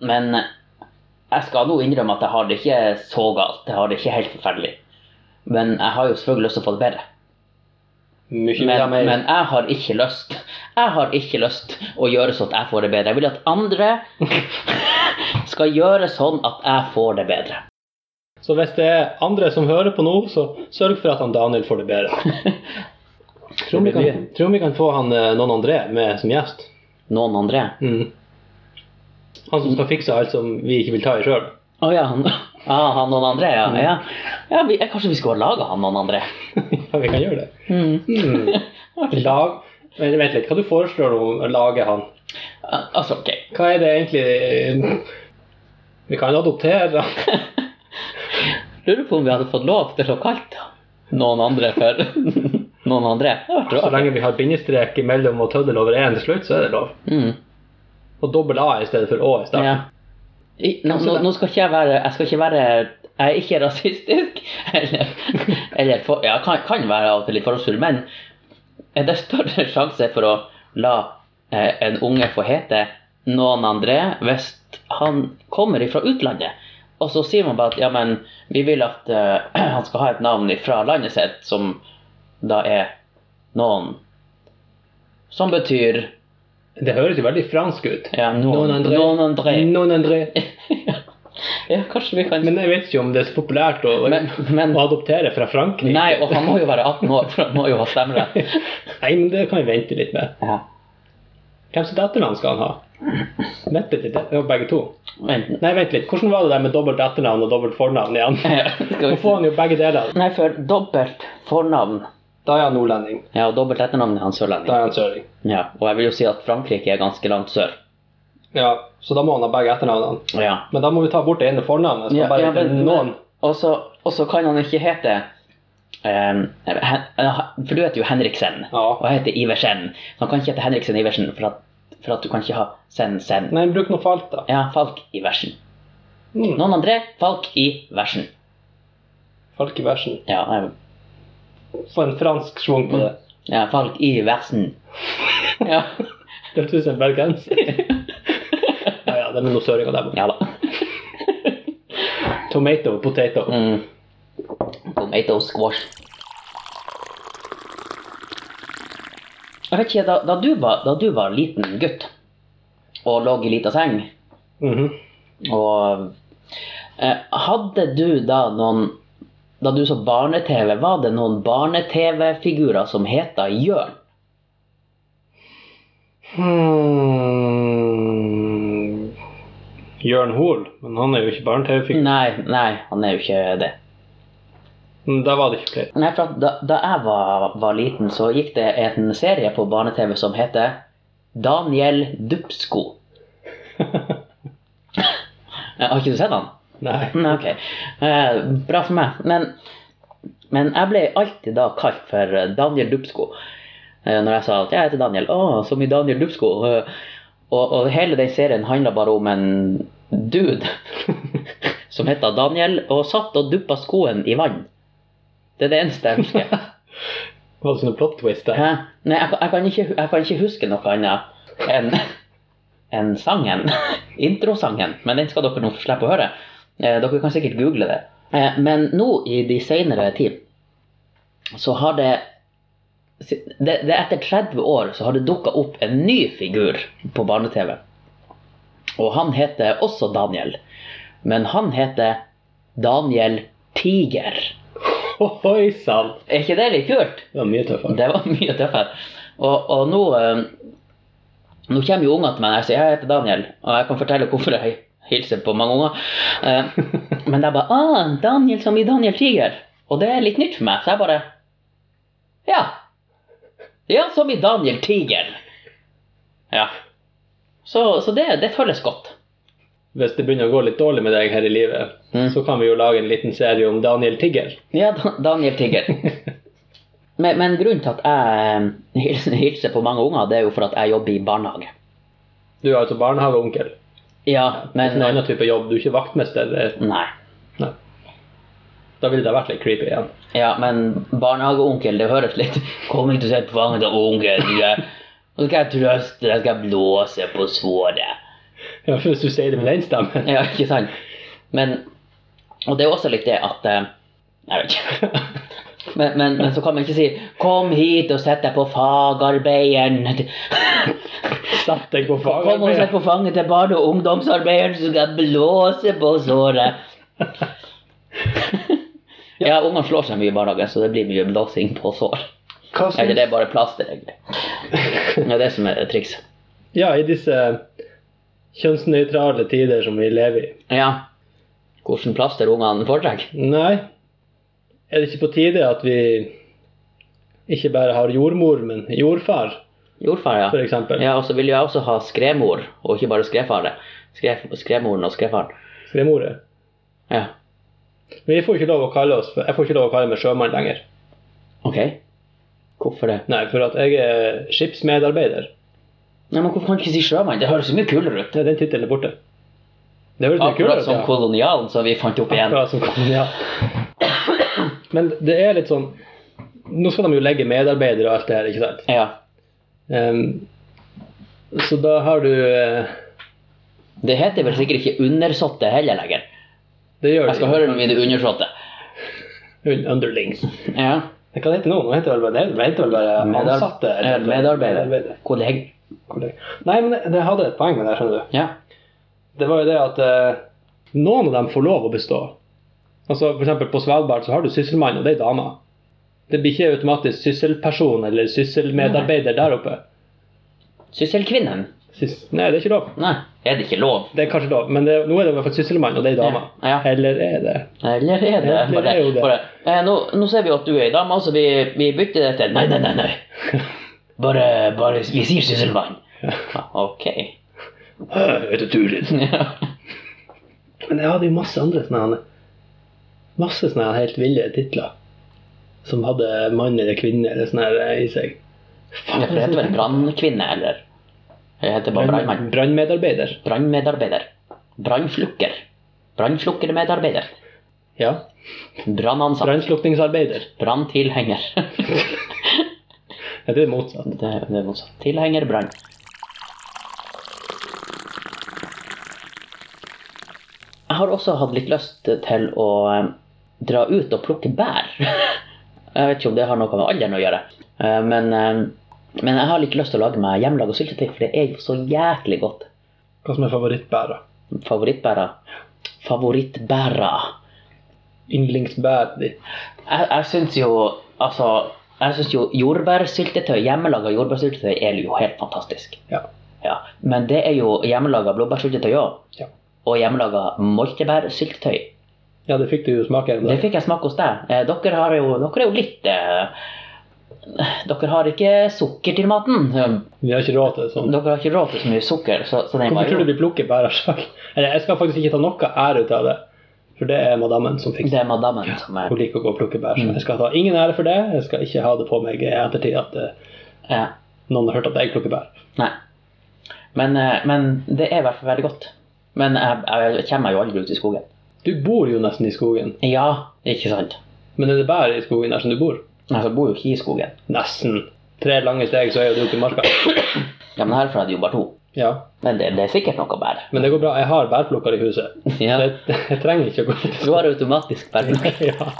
Speaker 1: men jeg skal nå innrømme at jeg har det ikke så galt. Jeg har det ikke helt forferdelig. Men jeg har jo selvfølgelig lyst til å få det bedre.
Speaker 2: Mye
Speaker 1: Men,
Speaker 2: mer.
Speaker 1: men jeg har ikke lyst. Jeg har ikke lyst å gjøre sånn at jeg får det bedre. Jeg vil at *laughs* andre skal gjøre sånn at jeg får det bedre.
Speaker 2: Så hvis det er andre som hører på nå, så sørg for at han Daniel får det bedre. *laughs* Tror om vi
Speaker 1: Det blir
Speaker 2: kan, tror om vi kan få han eh, noen André med som gjest.
Speaker 1: Noen andre?
Speaker 2: Mm. Han som skal fikse alt som vi ikke vil ta i sjøl.
Speaker 1: Å ja, han, ah, han noen andre, ja. ja. ja vi, eh, kanskje vi skal lage han noen andre?
Speaker 2: *laughs* ja, vi kan gjøre det.
Speaker 1: Mm.
Speaker 2: Mm. *laughs* Lag Men vent litt, hva du foreslår du om å lage han?
Speaker 1: Al- Altså, ok.
Speaker 2: Hva er det egentlig eh, Vi kan adoptere *laughs* han.
Speaker 1: Lurer på om vi hadde fått lov til å kalle det noen andre *laughs* for noen andre. Det hadde vært
Speaker 2: Så
Speaker 1: rart.
Speaker 2: lenge vi har bindestrek imellom og tøddel over én til slutt, så er det lov.
Speaker 1: Mm.
Speaker 2: Og dobbel A i stedet for Å i
Speaker 1: Ja.
Speaker 2: stedet.
Speaker 1: I- Nå, nå, nå skal ikke jeg være Jeg skal ikke være jeg er ikke rasistisk, *laughs* eller, eller for, ja, kan, kan være av og til litt forholdsfull, men er det større sjanse for å la eh, en unge få hete noen andre hvis han kommer ifra utlandet? Og så sier man bare at ja, men vi vil at eh, *clears throat* han skal ha et navn fra landet sitt som da er noen Som betyr
Speaker 2: Det høres jo veldig fransk ut.
Speaker 1: ja, noen,
Speaker 2: Noen andre.
Speaker 1: Noen andre.
Speaker 2: Noen andre.
Speaker 1: Ja, kanskje vi kan
Speaker 2: Men jeg vet ikke om det er så populært å,
Speaker 1: Men- men-
Speaker 2: å adoptere fra Frankrike.
Speaker 1: Nei, og han må jo være 18 år, for han må jo ha stemmerett.
Speaker 2: *laughs* Nei, men det kan vi vente litt med.
Speaker 1: Ja.
Speaker 2: Hvem sitt etternavn skal han ha? Vent litt, det var begge to.
Speaker 1: *laughs* Men,
Speaker 2: Nei, vent litt. Hvordan var det der med dobbelt etternavn og dobbelt fornavn igjen?
Speaker 1: skal
Speaker 2: Nå
Speaker 1: vi
Speaker 2: får han jo begge deler.
Speaker 1: Nei, for dobbelt fornavn
Speaker 2: Da er han nordlending.
Speaker 1: Ja, og dobbelt etternavn er han
Speaker 2: Da
Speaker 1: sørlending.
Speaker 2: er han søring.
Speaker 1: Ja, og jeg vil jo si at Frankrike er ganske langt sør.
Speaker 2: Ja, så da må han ha begge etternavnene.
Speaker 1: Ja.
Speaker 2: Men da må vi ta bort det ene fornavnet. Skal
Speaker 1: Ja,
Speaker 2: bare
Speaker 1: ja,
Speaker 2: hete
Speaker 1: men-
Speaker 2: noen.
Speaker 1: Og så og så kan han ikke hete ehm, Hen- ja, For du heter jo Henriksen, og
Speaker 2: Ja.
Speaker 1: jeg heter Iversen. Så han kan ikke hete Henriksen Iversen, for at, for at du kan ikke ha Sen-Sen.
Speaker 2: Nei, bruk noe falt, da.
Speaker 1: Ja, Falk Iversen.
Speaker 2: Mm.
Speaker 1: Noen andre? Falk Iversen.
Speaker 2: Falk i versen.
Speaker 1: Ja, jeg-
Speaker 2: Få en fransk svung på det.
Speaker 1: ja Falk Iversen. Ja.
Speaker 2: Det hørtes ut som
Speaker 1: *laughs*
Speaker 2: en bergenser. Ja, ja, det er noe søring av dem.
Speaker 1: ja da.
Speaker 2: Tomato, potato.
Speaker 1: Mm. Tomato squash. Jeg vet ikke, da, da, du var, da du var liten gutt og lå i lita seng
Speaker 2: Mhm.
Speaker 1: og eh, Hadde du da noen Da du så barne-TV, var det noen barne-TV-figurer som heta Jørn?
Speaker 2: Hmm. Jørn Hoel, men han er jo ikke barne-TV-figur.
Speaker 1: Nei, nei, han er jo ikke det.
Speaker 2: Men Da var det ikke flere.
Speaker 1: Nei, for at da, da jeg var, var liten, så gikk det en serie på barne-TV som heter Daniel Dupsko. Eh, Har ikke du sett han?
Speaker 2: Nei.
Speaker 1: Nei, ok. Eh, bra for meg. Men, men jeg ble alltid da kalt for eh, Daniel Dupsko. Eh, når jeg sa at jeg heter Daniel. Å, som i Daniel Dupsko. Eh, og, og hele den serien handla bare om en dude *laughs* som heter Daniel, og satt og duppa skoen i vann. Det er det eneste jeg husker.
Speaker 2: Var det sånn en plot twist der?
Speaker 1: Hæ? Nei, jeg, kan- jeg, kan ikke, jeg kan ikke huske noe annet enn enn sangen. *laughs* Introsangen. Men den skal dere nå få slippe å høre. Eh, dere kan sikkert google det. Eh, men nå i de senere tid så har det det, det er Etter 30 år så har det dukka opp en ny figur på barne-TV. Og han heter også Daniel. Men han heter Daniel Tiger.
Speaker 2: *laughs* Oi sann!
Speaker 1: Er ikke det litt kult?
Speaker 2: Det var mye tøffere.
Speaker 1: Det var *laughs* mye tøffere. Og, og nå eh, Nå kommer jo unger til meg og jeg sier jeg heter Daniel, og jeg kan fortelle hvorfor jeg hilser på mange unger. Eh, Men det er bare ah, 'Daniel som i Daniel Tiger'. Og det er litt nytt for meg, så jeg bare Ja. Ja, som i Daniel Tiger. Ja. Så, så det, det føles godt.
Speaker 2: Hvis det begynner å gå litt dårlig med deg her i livet,
Speaker 1: Mm.
Speaker 2: så kan vi jo lage en liten serie om Daniel Tigger.
Speaker 1: Ja, Dan- Daniel Tigger. Men, men grunnen til at jeg eh, hilser, hilser på mange unger, det er jo for at jeg jobber i barnehage.
Speaker 2: Du er altså barnehageonkel.
Speaker 1: Ja,
Speaker 2: Men
Speaker 1: men
Speaker 2: en annen type jobb. Du er ikke vaktmester. eller-
Speaker 1: Nei.
Speaker 2: Nei. Da ville det vært litt creepy igjen. *laughs*
Speaker 1: Ja, men barnehageonkel, det høres litt *laughs* Kom ikke til å se på fanget av onkel. du er- Nå skal jeg trøste deg, skal jeg blåse på såret.
Speaker 2: Ja, for Hvis du sier det med den *laughs* stemmen.
Speaker 1: Ja, ikke sant? Men Og det er jo også litt det at eh, Jeg vet ikke. *laughs* Men, men, men så kan man ikke si 'Kom hit og sett deg på fagarbeideren'.
Speaker 2: Sett deg på
Speaker 1: Kom og sett
Speaker 2: faget.
Speaker 1: på fanget til barne- og ungdomsarbeideren, så skal jeg blåse på såret.
Speaker 2: *laughs*
Speaker 1: Ja, unger slår seg mye i barnehagen, så det blir mye blåsing på sår.
Speaker 2: Hva
Speaker 1: Eller
Speaker 2: syns
Speaker 1: det er bare plaster, egentlig. Det er det som er trikset.
Speaker 2: Ja, i disse kjønnsnøytrale tider som vi lever i.
Speaker 1: Ja. Hvordan plaster ungene foretrekker?
Speaker 2: Nei. Er det ikke på tide at vi ikke bare har jordmor, men jordfar,
Speaker 1: Jordfar, ja.
Speaker 2: for eksempel?
Speaker 1: Ja, og så vil jeg også ha skremor, og ikke bare skrefare. Skre- Skremoren og skrefaren.
Speaker 2: Skrivemoren.
Speaker 1: Ja,
Speaker 2: Men vi får ikke lov å kalle oss Jeg får ikke lov å kalle meg sjømann lenger.
Speaker 1: ok. Hvorfor det?
Speaker 2: Nei, for at jeg er skipsmedarbeider.
Speaker 1: Nei, men hvorfor kan du ikke si sjømann? Det høres jo mye kulere ut.
Speaker 2: Nei, den tittelen er borte. Det høres litt
Speaker 1: Akkurat
Speaker 2: kulere ut.
Speaker 1: som
Speaker 2: ja.
Speaker 1: kolonialen som vi fant opp igjen.
Speaker 2: Akkurat som kon- Ja. Men det er litt sånn Nå skal de jo legge medarbeidere og alt det her, ikke sant?
Speaker 1: Ja.
Speaker 2: Ehm, så da har du eh,
Speaker 1: Det heter vel sikkert ikke undersåtte heller lenger.
Speaker 2: Det gjør
Speaker 1: Jeg skal høre med mine undersåtte.
Speaker 2: Un- Underlings.
Speaker 1: Ja.
Speaker 2: Men Hva det heter nå? Nå heter det vel bare, det heter vel bare
Speaker 1: Medar-
Speaker 2: ansatte?
Speaker 1: eh, Medarbeider. Kolleg.
Speaker 2: Kollega. Nei, men det, det hadde et poeng med det, skjønner du.
Speaker 1: Ja.
Speaker 2: Det var jo det at eh, noen av dem får lov å bestå. Altså for eksempel på Svalbard så har du sysselmann, og det er dama. Det blir ikke automatisk sysselperson eller sysselmedarbeider der oppe.
Speaker 1: Sysselkvinnen.
Speaker 2: Sys Nei, det er ikke lov.
Speaker 1: Nei, er det ikke lov?
Speaker 2: Det er kanskje lov, men det, nå er det i hvert fall sysselmann, og det er dama.
Speaker 1: Ja, ja.
Speaker 2: Eller er det
Speaker 1: Eller er det
Speaker 2: Eller
Speaker 1: bare,
Speaker 2: er jo det.
Speaker 1: bare eh, nå, nå ser vi at du er ei dame, så vi, vi bytter det til Nei, nei, nei.
Speaker 2: *laughs*
Speaker 1: nei. Bare, bare Vi sier sysselmann. Ja, ok. *laughs*
Speaker 2: Jeg heter Turid.
Speaker 1: Ja.
Speaker 2: Men jeg hadde jo masse andre sånne Masse sånne helt ville titler. Som hadde mann eller kvinne eller sånn her eh, i seg.
Speaker 1: Ja, for det heter vel brannkvinne, eller? Jeg heter bare brannmann.
Speaker 2: Brannmedarbeider.
Speaker 1: Brannmedarbeider. Brannslukker. Brannslukkermedarbeider.
Speaker 2: Ja.
Speaker 1: Brannansatt.
Speaker 2: Brannslukningsarbeider.
Speaker 1: Branntilhenger.
Speaker 2: Ja, det er motsatt.
Speaker 1: det, det er motsatt. Tilhenger, brann. Jeg har også hatt litt lyst til å eh, dra ut og plukke bær. *laughs* jeg vet ikke om det har noe med alderen å gjøre. Eh, Men, eh, men jeg har litt lyst til å lage meg hjemmelaga syltetøy, for det er jo så jæklig godt.
Speaker 2: Hva som er favorittbæra?
Speaker 1: Favorittbæra. Favorittbæra.
Speaker 2: Yndlingsbæret ditt.
Speaker 1: Jeg, jeg syns jo Altså, jeg syns jo jordbærsyltetøy, hjemmelaga jordbærsyltetøy, er jo helt fantastisk.
Speaker 2: Ja.
Speaker 1: Ja. Men det er jo hjemmelaga blåbærsyltetøy òg.
Speaker 2: Ja.
Speaker 1: Og hjemmelaga moltebærsyltetøy.
Speaker 2: ja, det fikk du jo smake en
Speaker 1: Det
Speaker 2: dag.
Speaker 1: fikk jeg smake hos deg. Eh, Dere, har jo, dere er jo litt eh, Dere har ikke sukker til maten. Dere
Speaker 2: Vi har ikke råd til det sånn.
Speaker 1: har ikke råd til så mye sukker, så, så den
Speaker 2: Hvorfor
Speaker 1: var
Speaker 2: tror
Speaker 1: jo
Speaker 2: du vi plukker bæra sjøl? Eller jeg skal faktisk ikke ta noe ære ut av det. For det er madammen som fikk
Speaker 1: Det er madammen som er Mm.
Speaker 2: Hun liker å gå og plukke bær. Så jeg skal ta ingen ære for det. Jeg skal ikke ha det på meg i ettertid at eh,
Speaker 1: ja.
Speaker 2: noen har hørt at jeg plukker bær.
Speaker 1: Nei. Men, eh, men det er i hvert fall veldig godt. Men jeg, jeg kommer meg jo aldri ut i skogen.
Speaker 2: Du bor jo nesten i skogen.
Speaker 1: Ja, ikke sant?
Speaker 2: Men er det bær i skogen der som du bor?
Speaker 1: Altså, jeg bor jo ikke i skogen.
Speaker 2: Nesten. Tre lange steg, så er jo du ute i marka.
Speaker 1: Ja, men herfra er det jo bare to.
Speaker 2: Ja.
Speaker 1: Men det, det er sikkert noe bær.
Speaker 2: Men det går bra. Jeg har bærplukker i huset.
Speaker 1: *laughs* Ja.
Speaker 2: Så jeg, jeg trenger ikke å gå ut i *laughs*
Speaker 1: Du har automatisk bær.
Speaker 2: skogen. Ja.
Speaker 1: *laughs*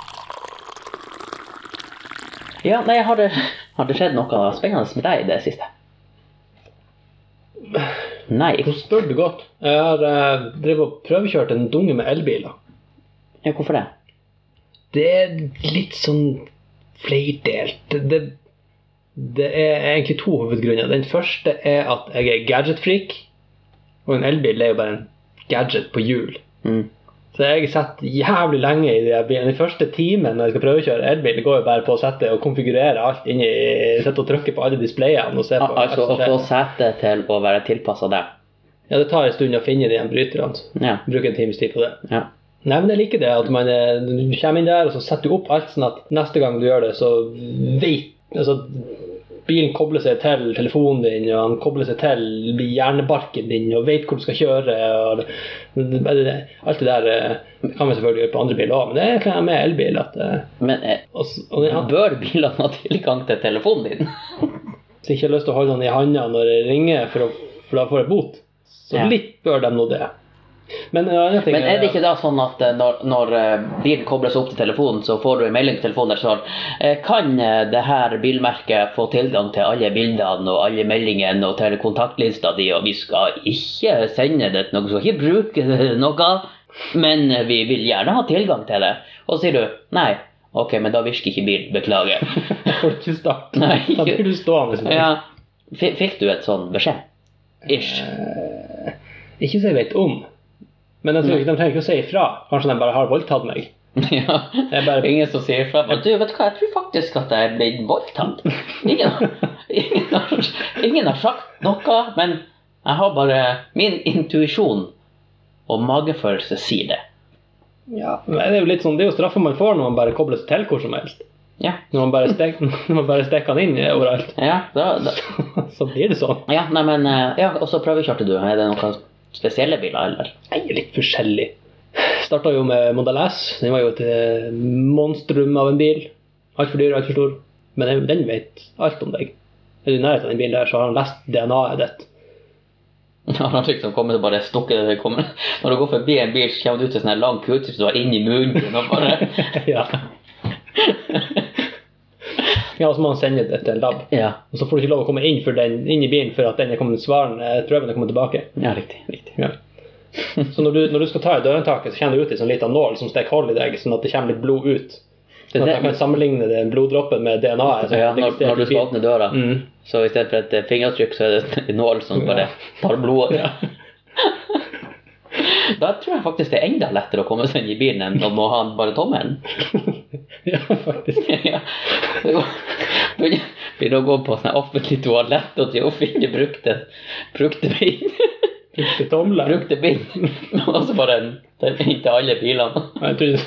Speaker 1: Ja, nei, har det, har det skjedd noe spennende med deg i det siste? Nei.
Speaker 2: Nå spør du godt. Jeg har eh, drevet og prøvekjørt en dunge med elbiler.
Speaker 1: Ja, hvorfor det?
Speaker 2: Det er litt sånn flerdelt. Det, det er egentlig to hovedgrunner. Den første er at jeg er gadgetfreak, og en elbil er jo bare en gadget på hjul.
Speaker 1: Mm.
Speaker 2: Så jeg satt jævlig lenge i den bilen. Den første timen når jeg skal prøvekjøre elbil, går jo bare på å sette og konfigurere alt inni Sette og trykke på alle displayene og se på
Speaker 1: Al altså å
Speaker 2: alt som
Speaker 1: få
Speaker 2: skjer.
Speaker 1: setet til å være tilpassa deg.
Speaker 2: Ja, det tar en stund å finne de bryterne.
Speaker 1: Ja.
Speaker 2: Bruke en times tid på det.
Speaker 1: ja.
Speaker 2: Nei, men jeg liker det. At man eh, du kommer inn der og så setter du opp alt sånn at neste gang du gjør det, så vet altså, Bilen kobler seg til telefonen din, og han kobler seg til hjernebarken din og vet hvor du skal kjøre. Og, det- det- alt det der eh, kan vi selvfølgelig gjøre på andre biler òg, men det er egentlig med elbil. At, eh,
Speaker 1: Men eh,
Speaker 2: og, s- og den, han,
Speaker 1: bør bilene ha tilgang til telefonen din?
Speaker 2: hvis jeg ikke har lyst til å holde han i handa når jeg ringer, for, å, for da får jeg bot, så
Speaker 1: Ja.
Speaker 2: litt bør de nå det. Men, en annen ting
Speaker 1: Men er det ikke da sånn at eh, når, når eh, bilen kobles opp til telefonen, så får du en melding på telefonen der står eh, Kan eh, det her bilmerket få tilgang til alle bildene og alle meldingene og til kontaktlista di, og vi skal ikke sende det til noe, vi skal ikke *laughs* bruke det til noe, men vi vil gjerne ha tilgang til det. Og så sier du nei. Ok, men da virker ikke bilen. Beklager.
Speaker 2: Da får du ikke starte.
Speaker 1: *laughs* Nei,
Speaker 2: Da blir du stående. sånn.
Speaker 1: *laughs* ja. F- Fikk du et sånn beskjed? Ish.
Speaker 2: Eh, Ikke så jeg vet om. Men jeg tror ikke, de trenger ikke å si ifra. Kanskje de bare har voldtatt meg.
Speaker 1: *laughs* ja.
Speaker 2: Jeg bare,
Speaker 1: Ingen som sier fra. Men du, vet du hva, jeg tror faktisk at jeg er blitt voldtatt. *laughs* Ingen, ingen, har, ingen har sagt noe, men jeg har bare Min intuisjon og magefølelse sier det.
Speaker 2: ja, men det er jo litt sånn, det er jo straffa man får når man bare kobler seg til hvor som helst.
Speaker 1: Ja.
Speaker 2: Når man bare, stek, *laughs* når man bare stikker den inn eh, overalt, *laughs*
Speaker 1: ja, da, da.
Speaker 2: så blir det sånn.
Speaker 1: ja nei, men eh, ja, Og så prøvekjørte du. Er det noen spesielle biler, *laughs* eller?
Speaker 2: Jeg er litt forskjellig. Starta jo med Model S. Den var jo et eh, monstrum av en bil. Altfor dyr, altfor stor. Men den- den vet alt om deg. Er du i nærheten av den bilen der, så har han lest DNA-et ditt.
Speaker 1: Når han liksom kommer og bare stukker det kommer. Når du går forbi en bil, så kommer det ut en sånn her lang kutt som du har inni munnen din. Og bare
Speaker 2: *laughs* ja. ja, og så må han sende det til en lab.
Speaker 1: Ja,
Speaker 2: Og så får du ikke lov å komme inn, for den, inn i bilen før at den er kommet, svaren, eh, prøven er kommet tilbake.
Speaker 1: ja riktig. riktig.
Speaker 2: Ja. *laughs* Så når du, når du skal ta i dørhåndtaket, så kjenner du ut en sånn liten nål som stikker hull i deg, sånn at det kommer litt blod ut.
Speaker 1: Det
Speaker 2: Sånn
Speaker 1: er
Speaker 2: at
Speaker 1: det-
Speaker 2: jeg kan sammenligne den bloddråpen med DNA-et.
Speaker 1: Altså, Ja, når, når du skal åpne døra,
Speaker 2: sånn mm. *laughs*
Speaker 1: så i stedet for et eh, fingeravtrykk, så er det en nål som bare tar blodet.
Speaker 2: Ja.
Speaker 1: Da tror jeg faktisk det er enda lettere å komme seg inn i bilen enn å må ha den bare tommelen. *laughs*
Speaker 2: ja, faktisk.
Speaker 1: Ja. Det går- Begynner begynner å gå på sånn offentlig toalett og til å finne brukte, brukte bind. *laughs*
Speaker 2: Brukte tomler.
Speaker 1: Brukte bind. *laughs* Og så bare en- den inn til alle bilene.
Speaker 2: Jeg trodde,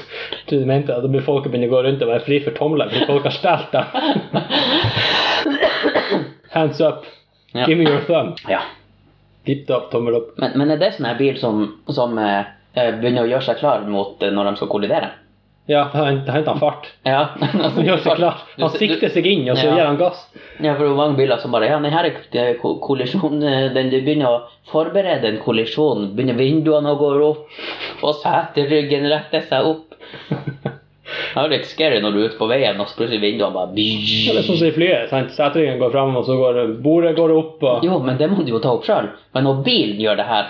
Speaker 2: trodde du mente at da blir folk begynne å gå rundt og være fri for tomler, fordi folk har stjålet
Speaker 1: *laughs*
Speaker 2: dem. Hands up.
Speaker 1: Ja.
Speaker 2: Give me your thumb.
Speaker 1: Ja.
Speaker 2: Dipp opp, tommel opp.
Speaker 1: Men, men er det sånn her bil som, som eh, eh, begynner å gjøre seg klar mot eh, når de skal kollidere?
Speaker 2: Ja, hent hent han fart.
Speaker 1: Ja,
Speaker 2: *laughs*
Speaker 1: altså,
Speaker 2: Han gjør seg klar.
Speaker 1: du-
Speaker 2: Han
Speaker 1: du-
Speaker 2: sikter seg inn, og så
Speaker 1: Ja.
Speaker 2: gir han gass.
Speaker 1: Ja, for det er mange biler som bare Ja, den her er eh, ko- kollisjon eh, den, Du begynner å forberede en kollisjon. Begynner vinduene å gå opp, og seteryggen retter seg opp. Det er jo litt scary når du er ute på veien, og så plutselig vinduene bare
Speaker 2: Ja, det er sånn
Speaker 1: bzzz.
Speaker 2: som i flyet. sant? Seteryggen går fram, og så går bordet går opp. Og...
Speaker 1: Jo, men det må du jo ta opp sjøl. Men når bilen gjør det her,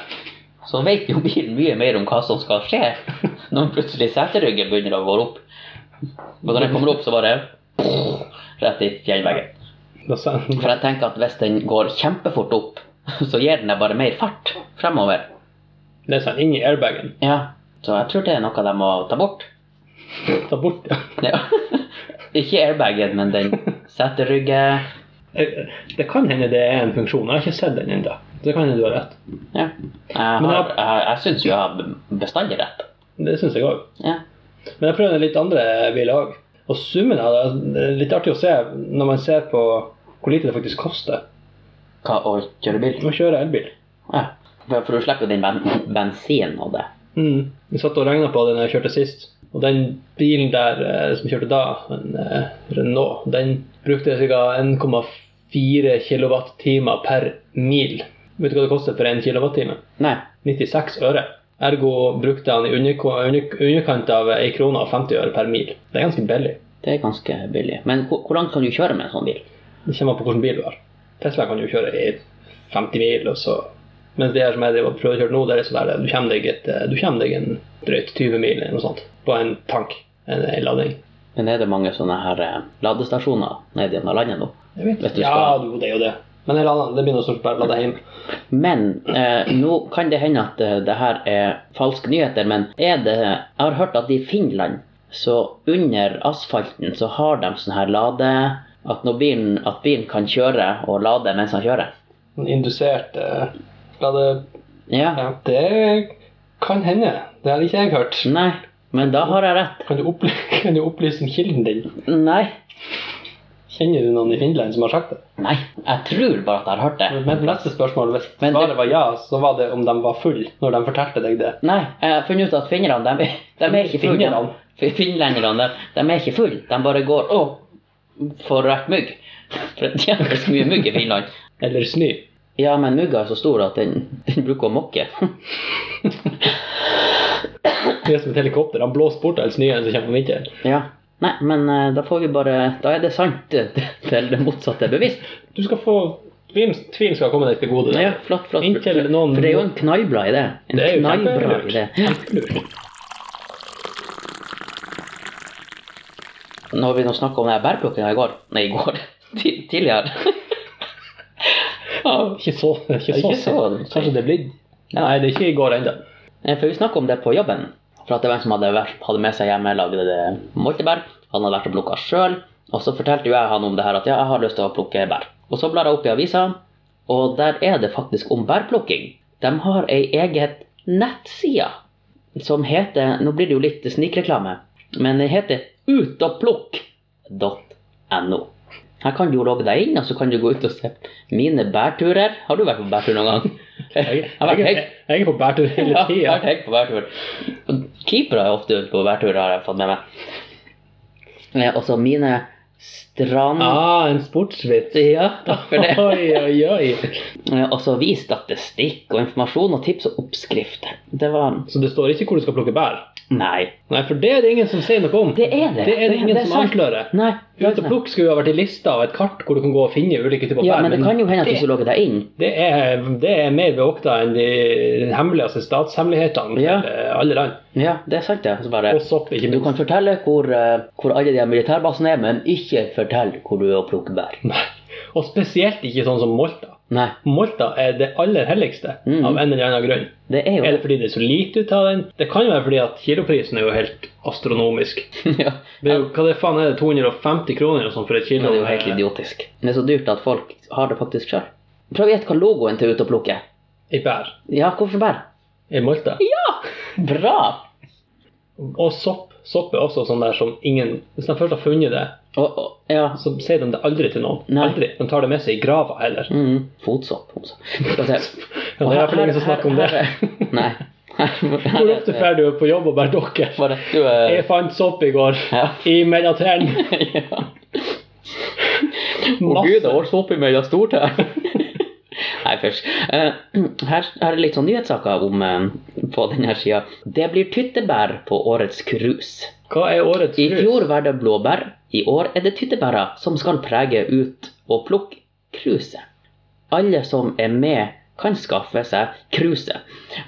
Speaker 1: så vet jo bilen mye mer om hva som skal skje. Når plutselig seteryggen begynner å gå opp. Og når den kommer opp, så bare rett i fjellveggen.
Speaker 2: Da sen-
Speaker 1: For jeg tenker at hvis den går kjempefort opp, *laughs* så gir den deg bare mer fart fremover.
Speaker 2: Det er sånn inn i airbagen.
Speaker 1: Ja. Så jeg tror det er noe de må ta bort.
Speaker 2: Ta bort ja.
Speaker 1: Ja. *laughs* Ikke airbagen, men den seterygge...
Speaker 2: Det kan hende det er en funksjon. Jeg har ikke sett den ennå. Det kan hende du har rett.
Speaker 1: Ja. Jeg, har,
Speaker 2: Men
Speaker 1: jeg,
Speaker 2: da-
Speaker 1: jeg syns jo jeg har bestandig rett.
Speaker 2: Det syns jeg òg.
Speaker 1: Ja.
Speaker 2: Men jeg prøvde litt andre biler òg. Og summen av det altså, det er litt artig å se når man ser på hvor lite det faktisk koster
Speaker 1: Hva å kjøre bil?
Speaker 2: å kjøre elbil.
Speaker 1: Ja. For, for du slipper jo den ben bensinen og det.
Speaker 2: Mm. Vi satt og regna på det når jeg kjørte sist. Og den bilen der eh, som jeg kjørte da, en eh, Renault, den brukte ca. 1,4 kWh per mil. Vet du hva det koster for 1 kWh?
Speaker 1: Nei.
Speaker 2: 96 øre. Ergo brukte han i underko- under, underkant av 1 krone og 50 øre per mil. Det er ganske billig.
Speaker 1: Det er ganske billig. Men hvor, hvor langt kan du kjøre med en sånn bil?
Speaker 2: Det kommer an på hvilken bil du har. Tesla kan jo kjøre i 50 mil, og så Mens de her som jeg driver og prøver å kjøre nå, det er sånn der, du kommer deg, et, du kommer deg en drøyt 20 mil eller noe sånt på en tank. En, en lading.
Speaker 1: Men er det mange sånne her eh, ladestasjoner nede gjennom landet nå?
Speaker 2: Jeg vet
Speaker 1: Vet du,
Speaker 2: ikke. Ja,
Speaker 1: skal-
Speaker 2: jo, det er jo det. Men en lader, det blir noe stort bare å lade hjemme.
Speaker 1: Men eh, nå kan det hende at eh, det her er falske nyheter, men er det Jeg har hørt at i Finland, så under asfalten, så har de sånn her lade At når bilen, at bilen kan kjøre og lade mens han kjører.
Speaker 2: En Indusert eh, lade...
Speaker 1: Ja.
Speaker 2: Ja, det kan hende. Det hadde ikke jeg hørt.
Speaker 1: Nei. Men da har jeg rett.
Speaker 2: Kan du, opply *laughs* kan du opplyse om kilden din?
Speaker 1: Nei.
Speaker 2: Kjenner du noen i Finland som har sagt det?
Speaker 1: Nei. Jeg tror bare at jeg har hørt det.
Speaker 2: Men neste spørsmål, hvis
Speaker 1: Men det-
Speaker 2: svaret var ja, så var det om de var full når de fortalte deg det.
Speaker 1: Nei, jeg har funnet ut at finnerne, de, de er ikke finnerne.
Speaker 2: Finnerne.
Speaker 1: Finlenderne, de, de er ikke fulle. De bare går Å, for rett mygg. *laughs* For det er så mye mygg i Finland.
Speaker 2: Eller snø.
Speaker 1: Ja, men mugga er så stor at den, *laughs* den bruker å
Speaker 2: *laughs*
Speaker 1: mokke.
Speaker 2: Det er som et helikopter. Han blåser bort all snøen som kommer om vinteren.
Speaker 1: ja. Nei, men eh, da får vi bare Da er det sant *laughs* eh, til det motsatte er bevisst.
Speaker 2: Du skal få Tvil, tvil skal komme deg til gode.
Speaker 1: Ja, flott, flott.
Speaker 2: Inntil noen-
Speaker 1: For det er jo en knallbra idé. En
Speaker 2: Det er jo
Speaker 1: knallbra
Speaker 2: kjempelurt.
Speaker 1: idé.
Speaker 2: Kjempelurt.
Speaker 1: Når vi nå snakka om den her bærplukkinga i går Nei, i går. *laughs* Ti- Tidligere. Ja,
Speaker 2: Ikke så, ikke så,
Speaker 1: Ikke så-
Speaker 2: sent. Kanskje det er blitt? Nei, det er ikke i går ennå.
Speaker 1: *laughs* Nei, Eh, For vi snakka om det på jobben. For at det var en som hadde, vært, hadde med seg hjemmelagde moltebær. Han hadde vært og plukka sjøl. Og så fortalte jo jeg han om det her at ja, jeg har lyst til å plukke bær. Og så blar jeg opp i avisa, og der er det faktisk om bærplukking. De har ei eget nettside som heter Nå blir det jo litt snikreklame, men den heter utogplukk.no. Her kan du jo logge deg inn, og så kan du gå ut og se mine bærturer. Har du vært på bærtur noen gang?
Speaker 2: Jeg,
Speaker 1: har vært
Speaker 2: jeg, jeg, jeg er på bærtur hele
Speaker 1: ja, jeg har
Speaker 2: tida.
Speaker 1: tenkt på bærtur. Keepere er ofte ute på bærtur, har jeg fått med meg. Eh, Også mine strand...
Speaker 2: Ah, en sportsvits.
Speaker 1: Ja, takk for det.
Speaker 2: *laughs* Oi, oi, oi.
Speaker 1: Eh, Også vi statistikk og informasjon og tips og oppskrifter. Det var
Speaker 2: Så det står ikke hvor du skal plukke bær?
Speaker 1: Nei,
Speaker 2: Nei, for det er det ingen som sier noe om.
Speaker 1: det er det.
Speaker 2: Det er det ingen som
Speaker 1: sant.
Speaker 2: avslører.
Speaker 1: Nei, det er
Speaker 2: Ut og
Speaker 1: sant.
Speaker 2: plukk skulle jo ha vært i lista og et kart hvor du kan gå og finne ulike typer
Speaker 1: Ja,
Speaker 2: bær.
Speaker 1: men det kan jo hende at
Speaker 2: det-
Speaker 1: hvis du logger deg inn
Speaker 2: det er, det er mer beokta enn de hemmeligste statshemmelighetene til
Speaker 1: Ja.
Speaker 2: eh, alle land.
Speaker 1: Ja, det er sant, det. Så bare
Speaker 2: Og sopp, ikke
Speaker 1: Du
Speaker 2: minst.
Speaker 1: kan fortelle hvor, eh, hvor alle de her militærbasene er, men ikke fortell hvor du er og plukker bær.
Speaker 2: Nei. Og spesielt ikke sånn som Molta.
Speaker 1: Nei,
Speaker 2: Molta er det aller helligste
Speaker 1: Mhm.
Speaker 2: av en eller annen grunn.
Speaker 1: det er jo
Speaker 2: Er det fordi det er så lite ut av den? Det kan jo være fordi at kiloprisen er jo helt astronomisk.
Speaker 1: *laughs* ja.
Speaker 2: Det er jo, hva det faen er det, 250 kroner og sånn for et
Speaker 1: Men
Speaker 2: kilo?
Speaker 1: det er jo helt idiotisk. Det er så dyrt at folk har det faktisk sjøl. Prøv å gjette hva logoen til Ut og plukke er.
Speaker 2: I bær.
Speaker 1: Ja, hvorfor bær?
Speaker 2: I Molta.
Speaker 1: Bra!
Speaker 2: Og sopp. Sopp er også sånn der som ingen Hvis de først har funnet det,
Speaker 1: Og, og, ja.
Speaker 2: så sier de det aldri til noen.
Speaker 1: Nei.
Speaker 2: Aldri. De tar det med seg i grava heller.
Speaker 1: Mm, fotsopp. også. Skal vi se.
Speaker 2: Ja, det er i hvert fall ingen som snakker om det.
Speaker 1: det. Nei. Her,
Speaker 2: Hvor ofte drar du på jobb og bare dukker?
Speaker 1: *laughs* Bare du eh,
Speaker 2: Jeg fant sopp i går
Speaker 1: Ja.
Speaker 2: i mellom trærne.
Speaker 1: ja. Å gud, det
Speaker 2: Masse.
Speaker 1: var sopp i meg, det er stort her. *laughs* Nei, først. Eh, her, her er litt sånn nyhetssaker om eh, på denne sida. Det blir tyttebær på årets cruise.
Speaker 2: Hva er årets
Speaker 1: I
Speaker 2: krus?
Speaker 1: fjor var det blåbær, i år er det tyttebæra som skal prege ut og plukke kruset. Alle som er med, kan skaffe seg kruset.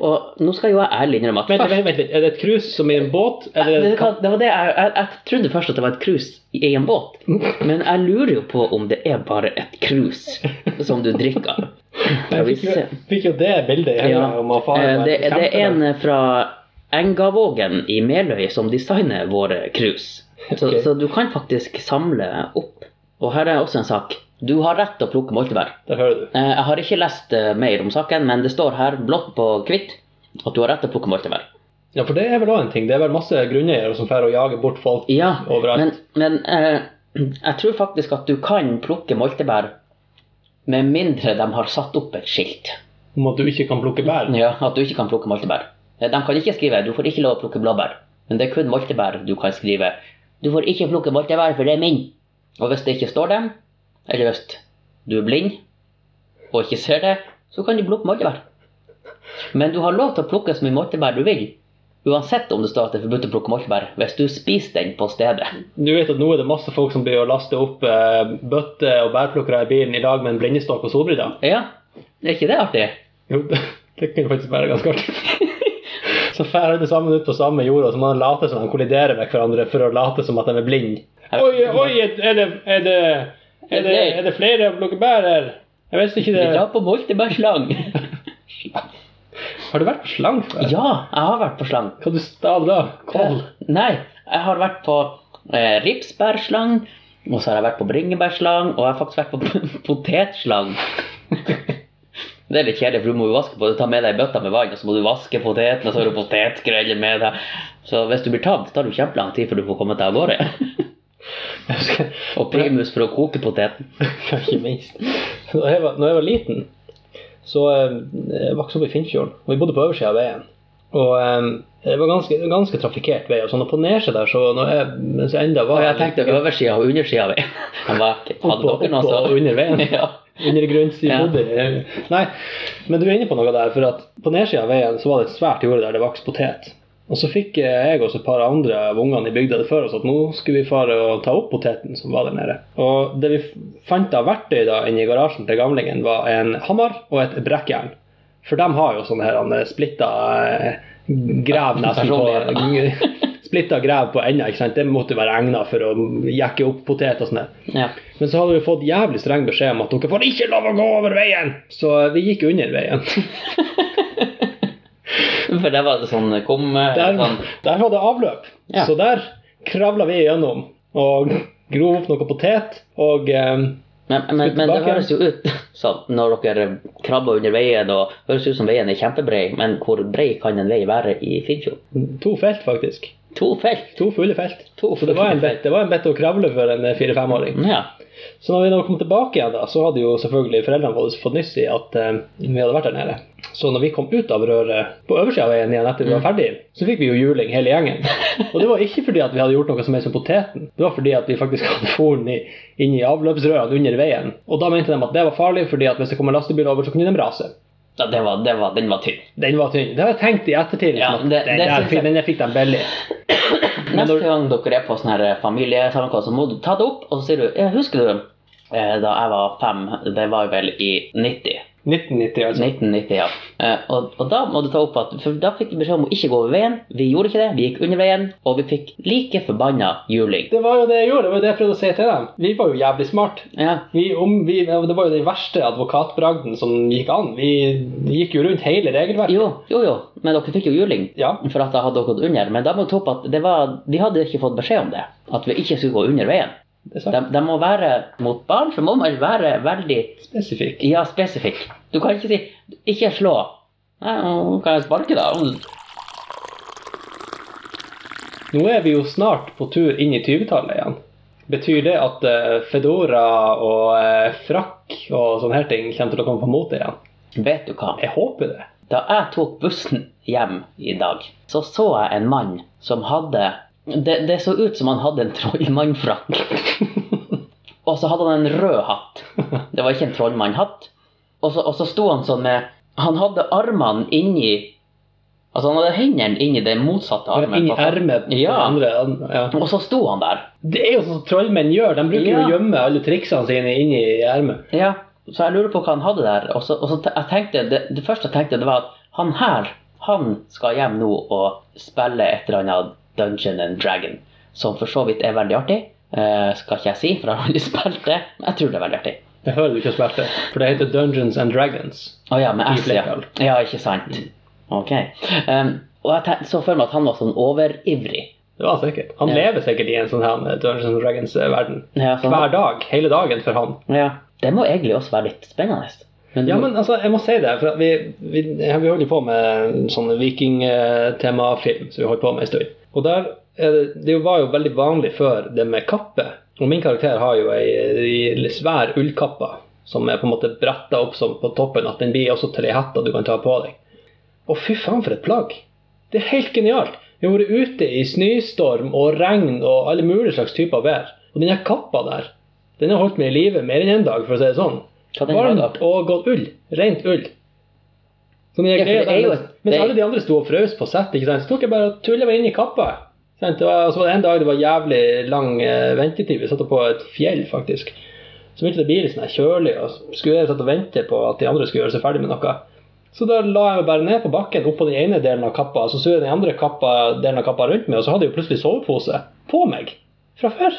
Speaker 1: Og nå skal jo jeg ærlig innrømme at
Speaker 2: Vent,
Speaker 1: først
Speaker 2: vent, vent, vent. Er det et krus som i en båt? Eller er
Speaker 1: Vet
Speaker 2: det
Speaker 1: du hva, det var det jeg, jeg, jeg trodde først at det var et krus i en båt, men jeg lurer jo på om det er bare et krus som du drikker av. Skal vi
Speaker 2: Jeg fikk jo,
Speaker 1: se.
Speaker 2: fikk jo det bildet i
Speaker 1: Ja.
Speaker 2: hodet om at faren
Speaker 1: Eh,
Speaker 2: var
Speaker 1: Det, det er
Speaker 2: kjempemann.
Speaker 1: en fra Engavågen i Meløy som designer våre krus. Så,
Speaker 2: Ok.
Speaker 1: så du kan faktisk samle opp. Og her er også en sak. Du har rett til å plukke moltebær.
Speaker 2: Der hører du.
Speaker 1: Eh, Jeg har ikke lest eh, mer om saken, men det står her blått på hvitt at du har rett til å plukke moltebær.
Speaker 2: Ja, for det er vel også en ting. Det er vel masse grunneiere som drar og jager bort folk
Speaker 1: Ja,
Speaker 2: overalt.
Speaker 1: men, men eh, jeg tror faktisk at du kan plukke moltebær med mindre de har satt opp et skilt.
Speaker 2: Om at du ikke kan plukke bær.
Speaker 1: Ja, At du ikke kan plukke moltebær. De kan ikke skrive 'du får ikke lov å plukke blåbær', men det er kun moltebær du kan skrive 'du får ikke plukke moltebær, for det er min'. Og hvis det ikke står dem, eller hvis du er blind og ikke ser det, så kan du plukke moltebær. Men du har lov til å plukke så mye moltebær du vil, uansett om det står at det er forbudt å plukke moltebær, hvis du spiser den på stedet.
Speaker 2: Du vet at nå er det masse folk som blir å laste opp eh, bøtter og bærplukkere i bilen i dag med en blindestokk og solbriller.
Speaker 1: Ja, er ikke det artig?
Speaker 2: Jo, det kunne faktisk være ganske artig. Så drar alle sammen ut på samme jorda, så må de late som de kolliderer med hverandre for å late som at de er blinde. Oi, oi, er det, er det, er det, er det flere å plukke bær her? Jeg visste ikke
Speaker 1: Vi
Speaker 2: det.
Speaker 1: drar på moltebærslang.
Speaker 2: Har du vært på slang før?
Speaker 1: Ja, jeg har vært på slang.
Speaker 2: Hva du stal da? Kål?
Speaker 1: Eh, Nei, jeg har vært på eh, ripsbærslang, og så har jeg vært på bringebærslang, og jeg har faktisk vært på *laughs* potetslang. Det er litt kjedelig, for du må jo vaske på Du tar med deg bøtta med vann, og så må du vaske poteten, og så har du potetskreller med deg. Så hvis du blir tatt, tar det jo kjempelang tid før du får kommet deg av gårde. *laughs*
Speaker 2: *laughs* Jeg husker,
Speaker 1: Og primus for å koke poteten.
Speaker 2: Ja, ikke minst. Da jeg var, når jeg var liten, så eh, jeg vokste jeg opp i Finnfjorden. Og vi bodde på oversida av veien. Og eh, det var ganske, ganske trafikkert vei. Og sånn, og på nedsida der, så når jeg, mens jeg enda
Speaker 1: Og
Speaker 2: var
Speaker 1: jeg tenkte oversida og undersida *laughs* av veien. Jeg bare, Hadde
Speaker 2: Oppå-
Speaker 1: dere noe
Speaker 2: oppå og under veien.
Speaker 1: *laughs* Ja.
Speaker 2: undergrunns i
Speaker 1: Ja.
Speaker 2: Bodø. Nei, men du er inne på noe der. For at på nedsida av veien så var det et svært jorde der det vokste potet. Og så fikk eh, jeg og så et par andre av ungene i bygda det for oss at nå skulle vi fare og ta opp poteten som var der nede. Og det vi f- fant av verktøy da inne i garasjen til gamlingen, var en hammer og et brekkjern.
Speaker 1: *laughs*
Speaker 2: For de har jo sånne her han, splitta eh, grev nesten på *laughs*
Speaker 1: Personligheter.
Speaker 2: splitta grev på enda. ikke sant? Det måtte jo være egnet for å jekke opp potet og sånn. der.
Speaker 1: Ja.
Speaker 2: Men så hadde vi fått jævlig streng beskjed om at dere får ikke lov å gå over veien! Så vi gikk under veien.
Speaker 1: For der var det sånn kom eh,
Speaker 2: Der,
Speaker 1: sånn,
Speaker 2: der var det avløp.
Speaker 1: Ja.
Speaker 2: Så der kravla vi gjennom og grov opp noe potet. Og eh,
Speaker 1: Men, men, men det
Speaker 2: tilbake.
Speaker 1: høres jo ut *laughs* sånn når dere krabber under veien, og det høres ut som veien er kjempebrei, men hvor brei kan en vei være i Finnfjord?
Speaker 2: to felt, faktisk.
Speaker 1: To felt!
Speaker 2: To fulle felt.
Speaker 1: To
Speaker 2: Så det var en bet, det var en bet å kravle for en eh, fire-femåring.
Speaker 1: Ja.
Speaker 2: Så når vi da kom tilbake igjen, da, så hadde jo selvfølgelig foreldrene våre fått nyss i at eh, vi hadde vært der nede. Så når vi kom ut av røret på øversida av veien igjen etter vi
Speaker 1: Mm.
Speaker 2: var ferdig, så fikk vi jo juling
Speaker 1: *laughs*
Speaker 2: hele gjengen. Og det var ikke fordi at vi hadde gjort noe som helst med poteten, det var fordi at vi faktisk hadde foren i, inn i avløpsrørene under veien. Og da mente de at det var farlig, fordi at hvis det kom en lastebil over, så kunne de rase.
Speaker 1: ja det var, det var, den var tynn.
Speaker 2: Den var tynn. Det har jeg tenkt i ettertid.
Speaker 1: Ja,
Speaker 2: liksom, at
Speaker 1: det-
Speaker 2: den,
Speaker 1: det
Speaker 2: der
Speaker 1: synes
Speaker 2: fikk-
Speaker 1: jeg-
Speaker 2: den der fikk de billig. Men
Speaker 1: Neste
Speaker 2: når-
Speaker 1: gang dere er på sånn her familiesammenkomst, så må du ta det opp, og så sier du «Eh, Husker du eh, da jeg var fem? Det var vel i 90.
Speaker 2: 1990, altså.
Speaker 1: 1990, ja. Eh, Og, og da må du ta opp at For da fikk vi beskjed om å ikke gå over veien. Vi gjorde ikke det. Vi gikk under veien, og vi fikk like forbanna juling.
Speaker 2: Det var jo det jeg gjorde, det var jo det jeg prøvde å si til dem. Vi var jo jævlig smart.
Speaker 1: Ja.
Speaker 2: Vi, om, vi, det var jo den verste advokatbragden som gikk an. Vi gikk jo rundt hele regelverket.
Speaker 1: Jo, jo, jo. Men dere fikk jo juling.
Speaker 2: Ja.
Speaker 1: For at jeg hadde gått under. Men da må du ta opp at det var, de hadde ikke fått beskjed om det. At vi ikke skulle gå under veien.
Speaker 2: Det er
Speaker 1: De,
Speaker 2: sant.
Speaker 1: de må være mot barn, så må man være veldig
Speaker 2: Spesifikk.
Speaker 1: ja, spesifikk. Du kan ikke si 'ikke slå'. Nei, nå kan jeg sparke, da?
Speaker 2: Nå er vi jo snart på tur inn i 20-tallet igjen. Betyr det at eh, Fedora og eh, frakk og sånne her ting kommer til å komme på mote igjen?
Speaker 1: Vet du hva?
Speaker 2: Jeg håper det.
Speaker 1: Da jeg tok bussen hjem i dag, så så jeg en mann som hadde Det, det så ut som han hadde en trollmannfrakk.
Speaker 2: *laughs*
Speaker 1: og så hadde han en rød hatt. Det var ikke en trollmannhatt. Og så, og så sto han sånn med Han hadde armene inni Altså han hadde hendene inni den motsatte armen.
Speaker 2: Inn i ermet på
Speaker 1: Ja.
Speaker 2: den andre. Ja.
Speaker 1: Og så sto han der.
Speaker 2: Det er jo sånn som trollmenn gjør. De bruker jo
Speaker 1: Ja.
Speaker 2: å gjemme alle triksene sine inni ermet.
Speaker 1: Ja, så jeg lurer på hva han hadde der. Og så, og så te- jeg tenkte, det, det første jeg tenkte, det var at han her, han skal hjem nå og spille et eller annet Dungeon and Dragon. Som for så vidt er veldig artig. Eh, skal ikke jeg si, for jeg har aldri *laughs* spilt det. Men jeg tror det er veldig artig.
Speaker 2: Det hører du ikke å spilte, for det heter Dungeons and Dragons.
Speaker 1: Å ja, med
Speaker 2: I
Speaker 1: S, ja.
Speaker 2: flertall. Mm.
Speaker 1: ja. Ikke sant. Ok. Em, og jeg tenkte, så for meg at han var sånn overivrig.
Speaker 2: Det var han sikkert. Han
Speaker 1: Ja.
Speaker 2: lever sikkert i en sånn her eh, Dungeons and Dragons-verden.
Speaker 1: Ja, sånn,
Speaker 2: Hver dag, hele dagen for han.
Speaker 1: ja. Det må egentlig også være litt spennende. Men,
Speaker 2: Ja, men altså, jeg må si det, for at vi, vi, ja, vi holder jo på med sånn vikingtemafilm som vi holdt på med en stund. Og der er det, det var jo veldig vanlig før det med kappe. Og min karakter har jo ei, ei svær ullkappe som er på en måte bretta opp som på toppen, at den blir også til ei hette du kan ta på deg. Å, fy faen, for et plagg! Det er helt genialt. Vi har vært ute i snøstorm og regn og alle mulige slags typer vær. Og den her kappa der, den har holdt meg i live mer enn én dag, for å si det sånn.
Speaker 1: hva den var da?
Speaker 2: Varmt og godt ull. Rent ull. Sånn jeg
Speaker 1: Ja, for det
Speaker 2: greia
Speaker 1: er
Speaker 2: der,
Speaker 1: jo
Speaker 2: mens,
Speaker 1: et-
Speaker 2: mens
Speaker 1: det-
Speaker 2: alle de andre sto og frøs på sett, ikke sant? så tok jeg bare og tullet meg inn i kappa. Ikke sant? Det var- Og så var det en dag det var jævlig lang eh, ventetid. Vi satt på et fjell, faktisk. Så begynte det å bli litt sånn her kjølig, og så skulle jeg satt og vente på at de andre skulle gjøre seg ferdig med noe. Så da la jeg meg bare ned på bakken, oppå den ene delen av kappa, så så jeg den andre kappa, delen av kappa rundt meg, og så hadde jeg jo plutselig sovepose på meg fra før.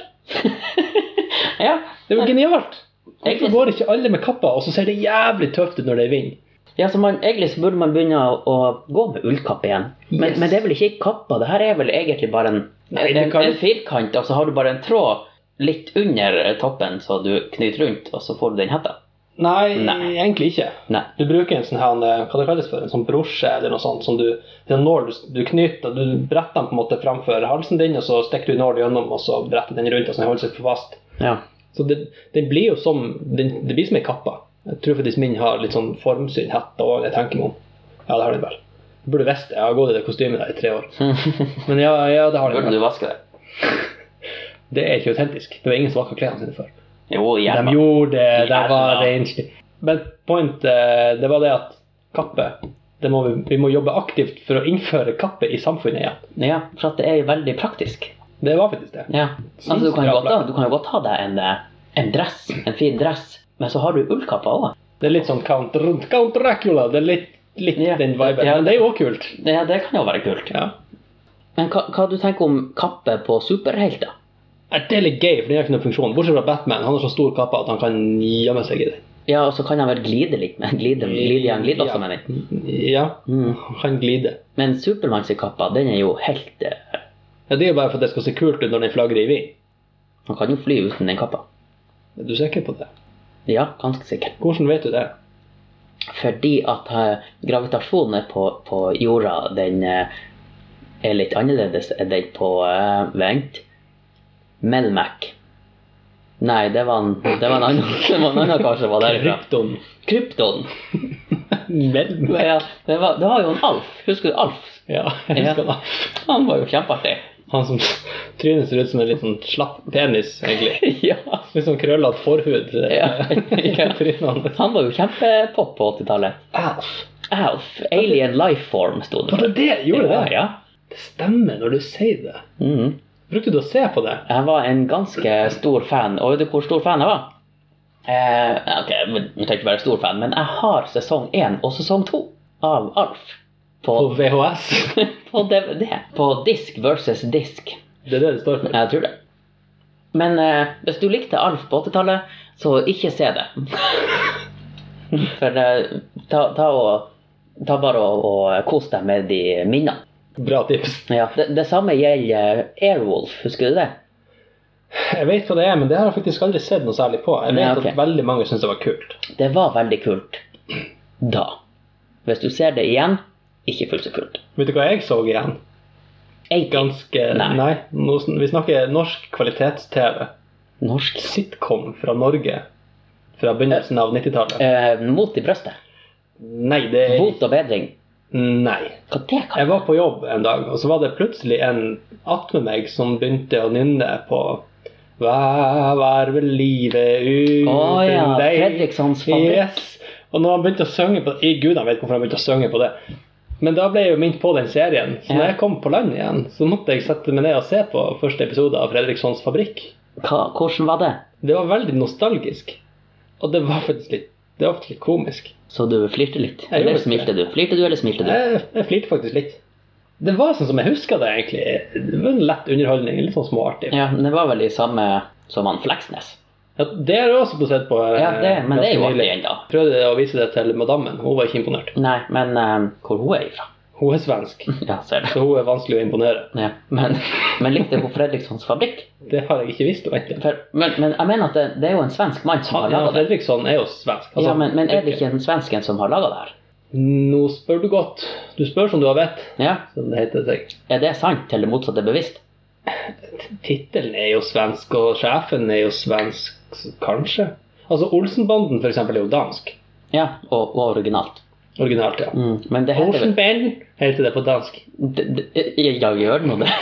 Speaker 1: Ja,
Speaker 2: Det er jo genialt! Hvorfor
Speaker 1: Egentlig-
Speaker 2: går ikke alle med kappa, og så ser det jævlig tøft ut når det er vind?
Speaker 1: Ja, så man, Egentlig så burde man begynne å, å gå med ullkappe igjen. Men,
Speaker 2: Yes.
Speaker 1: men det er vel ikke ei kappe, det her er vel egentlig bare en,
Speaker 2: Nei, du
Speaker 1: en,
Speaker 2: kan-
Speaker 1: en firkant, og så har du bare en tråd litt under toppen, så du knyter rundt, og så får du den hetta.
Speaker 2: Nei,
Speaker 1: Nei.
Speaker 2: egentlig ikke.
Speaker 1: Nei.
Speaker 2: Du bruker en sånn her, eh, hva det kalles for, en sånn brosje eller noe sånt, som du, det er en nål du knyter, du bretter den på en måte framfor halsen din, og så stikker du nål gjennom, og så bretter den rundt, og så den holder seg fast.
Speaker 1: *laughs* Ja.
Speaker 2: Så det, den blir jo som, den, det blir som en kappa. Jeg tror faktisk min har litt sånn formsyn hette også, jeg tenker meg om. Ja, det har den vel. Jeg burde visst det, jeg har gått i det kostymet der i tre år. Men ja, ja det har den
Speaker 1: Burde
Speaker 2: vel.
Speaker 1: du vaske det?
Speaker 2: Det er ikke autentisk. Det var ingen som vaket klærne sine før.
Speaker 1: Jo,
Speaker 2: De
Speaker 1: gjerne.
Speaker 2: gjorde det, de
Speaker 1: Jævla.
Speaker 2: var renslige. Men point, eh, det var det at kappe det må vi, vi må jobbe aktivt for å innføre kappe i samfunnet igjen.
Speaker 1: Ja, for at det er jo veldig praktisk.
Speaker 2: Det var faktisk det.
Speaker 1: Ja. Altså, du, kan
Speaker 2: Sinnssykt
Speaker 1: jo
Speaker 2: bra
Speaker 1: godt ha, du kan jo godt ha deg en, eh, en dress, en fin dress, men så har du ullkappa òg.
Speaker 2: Det er litt sånn Count, Count Dracula. Det er litt, litt
Speaker 1: Ja.
Speaker 2: den viben.
Speaker 1: Ja.
Speaker 2: Men det er jo òg kult.
Speaker 1: Ja, det kan jo være kult.
Speaker 2: Ja.
Speaker 1: Men hva, hva du tenker om kappe på superhelter?
Speaker 2: Nei, Det er litt gøy, for det er ikke noen funksjon. Bortsett fra Batman. Han har så stor kappe at han kan gjemme seg i den.
Speaker 1: Ja, og så kan han vel glide litt med glide, glide, glide, glide også,
Speaker 2: Ja.
Speaker 1: mener jeg.
Speaker 2: Ja,
Speaker 1: Mm.
Speaker 2: han kan glide.
Speaker 1: Men Supermanns kappa, den er jo helt eh,
Speaker 2: Ja, Det er jo bare for at det skal se kult ut når den flagrer i vind.
Speaker 1: Han kan jo fly uten den kappa.
Speaker 2: Er du sikker på det?
Speaker 1: Ja, ganske sikkert.
Speaker 2: Hvordan vet du det?
Speaker 1: Fordi at eh, gravitasjonen på, på jorda, den eh, er litt annerledes enn den på eh, Vent. Melmac. Nei, det var en, det var en annen, *laughs* det var en annen kar som var derfra. *laughs*
Speaker 2: Krypton.
Speaker 1: Krypton.
Speaker 2: Vel,
Speaker 1: Ja, det, var, det var jo en Alf. Husker du Alf?
Speaker 2: Ja, jeg husker det.
Speaker 1: Han var jo kjempeartig. *laughs*
Speaker 2: Han som *laughs* trynet ser ut som en litt sånn slapp penis, egentlig.
Speaker 1: ja.
Speaker 2: Litt sånn krøllete forhud. *laughs*
Speaker 1: Ja.
Speaker 2: I trynet hans.
Speaker 1: Han var jo kjempepop på 80-tallet. Alf, Ah, Alien Life Form sto det
Speaker 2: Var det det? Gjorde det?
Speaker 1: Ja.
Speaker 2: Det stemmer når du sier det.
Speaker 1: ja. Mhm.
Speaker 2: Brukte du å se på det?
Speaker 1: Jeg var en ganske stor fan. Og vet du hvor stor fan jeg var? Eh, ok, jeg trenger ikke være stor fan, men jeg har sesong én og sesong to av Alf. På,
Speaker 2: På VHS?
Speaker 1: *laughs* på DVD. På disk versus disk.
Speaker 2: *laughs* Det er det det står for.
Speaker 1: Jeg tror det. Men eh, hvis du likte Alf på 80-tallet, så ikke se det. *laughs* For eh, ta, ta, og, ta bare og, og kos deg med de minnene.
Speaker 2: Bra tips.
Speaker 1: Ja, det, det samme gjelder eh, Airwolf, husker du det?
Speaker 2: Jeg vet hva det er, men det har jeg faktisk aldri sett noe særlig på. Jeg vet
Speaker 1: Nei, ok.
Speaker 2: at veldig mange syns det var kult.
Speaker 1: Det var veldig kult da. Hvis du ser det igjen, ikke fullt så kult.
Speaker 2: Vet du hva jeg så igjen?
Speaker 1: 80.
Speaker 2: Ganske Nei,
Speaker 1: Nei.
Speaker 2: nå, sn- vi snakker norsk kvalitets-TV.
Speaker 1: Norsk.
Speaker 2: Sitcom fra Norge fra begynnelsen av 90-tallet.
Speaker 1: Eh, mot i brøstet.
Speaker 2: Nei, det er
Speaker 1: Bot og bedring.
Speaker 2: Nei.
Speaker 1: Hva det kan
Speaker 2: Jeg var på jobb en dag, og så var det plutselig en attmed meg som begynte å nynne på Hva var vel livet uten
Speaker 1: Å ja,
Speaker 2: deg?
Speaker 1: Fredrikssons fabrikk.
Speaker 2: Yes. Og når han begynte å synge på I Gud, han vet hvorfor han begynte å synge på det. Men da ble jeg jo minnet på den serien. Så når
Speaker 1: Ja.
Speaker 2: jeg kom på land igjen, så måtte jeg sette meg ned og se på første episode av Fredrikssons fabrikk.
Speaker 1: Hva- Hvordan var det?
Speaker 2: Det var veldig nostalgisk. Og det var faktisk litt, det var faktisk litt komisk.
Speaker 1: Så du flirte litt?
Speaker 2: Jeg
Speaker 1: Eller
Speaker 2: gjorde
Speaker 1: smilte du? Flirte du, eller smilte du?
Speaker 2: Jeg, jeg flirte faktisk litt. Det var sånn som jeg husker det, egentlig. Det var en lett underholdning. Litt sånn småartig.
Speaker 1: Ja, men det var vel i samme som han Fleksnes.
Speaker 2: Ja, det har jeg også fått sett på. eh,
Speaker 1: Ja, det, men det er jo
Speaker 2: ganske
Speaker 1: artig
Speaker 2: nylig.
Speaker 1: ennå.
Speaker 2: Prøvde å vise det til madammen. Hun var ikke imponert.
Speaker 1: Nei, men eh, hvor hun er ifra?
Speaker 2: Hun er svensk,
Speaker 1: Ja, ser du.
Speaker 2: så hun er vanskelig å imponere.
Speaker 1: Ja, men, *laughs* men likte hun Fredrikssons fabrikk?
Speaker 2: Det har jeg ikke visst om egentlig.
Speaker 1: For, men, men jeg mener at det, det er jo en svensk mann som
Speaker 2: Han,
Speaker 1: har
Speaker 2: ja,
Speaker 1: laga det.
Speaker 2: Fredriksson er jo svensk. altså.
Speaker 1: Ja, men, men er det ikke en svensken som har laga det her?
Speaker 2: Nå spør du godt. Du spør som du har vett,
Speaker 1: Ja,
Speaker 2: som det heter seg.
Speaker 1: Er det sant, eller motsatt er bevisst?
Speaker 2: Tittelen er jo svensk, og sjefen er jo svensk, kanskje. Altså Olsenbanden, for eksempel, er jo dansk.
Speaker 1: Ja, og, og originalt.
Speaker 2: Originalt, ja.
Speaker 1: Mm, men det heter vel
Speaker 2: Olsenbanden heter det på dansk.
Speaker 1: det- det- eh, Ja, gjør det *laughs* nå det?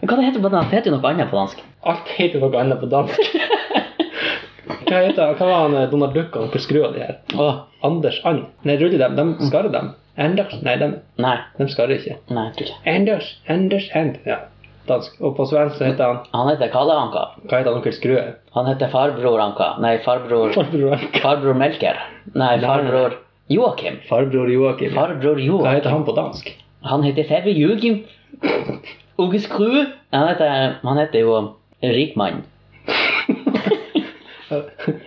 Speaker 1: Men Hva det heter det på dansk? Det heter jo noe annet på dansk.
Speaker 2: Alt heter noe annet på *laughs* dansk. Hva heter han? Hva var han eh, Donald Duck og onkel Skrue og de her?
Speaker 1: Åh,
Speaker 2: Anders And. Nei, ruller dem. De skarrer dem. Anders. Nei, de,
Speaker 1: nei,
Speaker 2: de skarrer ikke.
Speaker 1: nei, jeg tror ikke.
Speaker 2: Anders. Anders And. Ja, dansk. Og på svensk så heter han
Speaker 1: Han heter Kalle Anka.
Speaker 2: Hva heter han onkel Skrue?
Speaker 1: Han heter farbror Anka. Nei, farbror
Speaker 2: Farbror,
Speaker 1: Farbror Melker. Nei, farbror Joakim.
Speaker 2: Farbror Joakim.
Speaker 1: Farbror
Speaker 2: Hva
Speaker 1: Joakim.
Speaker 2: heter han på dansk? *laughs*
Speaker 1: Han heter Ferry Jugim. Uge Skru. Han heter, han heter jo Rikmann.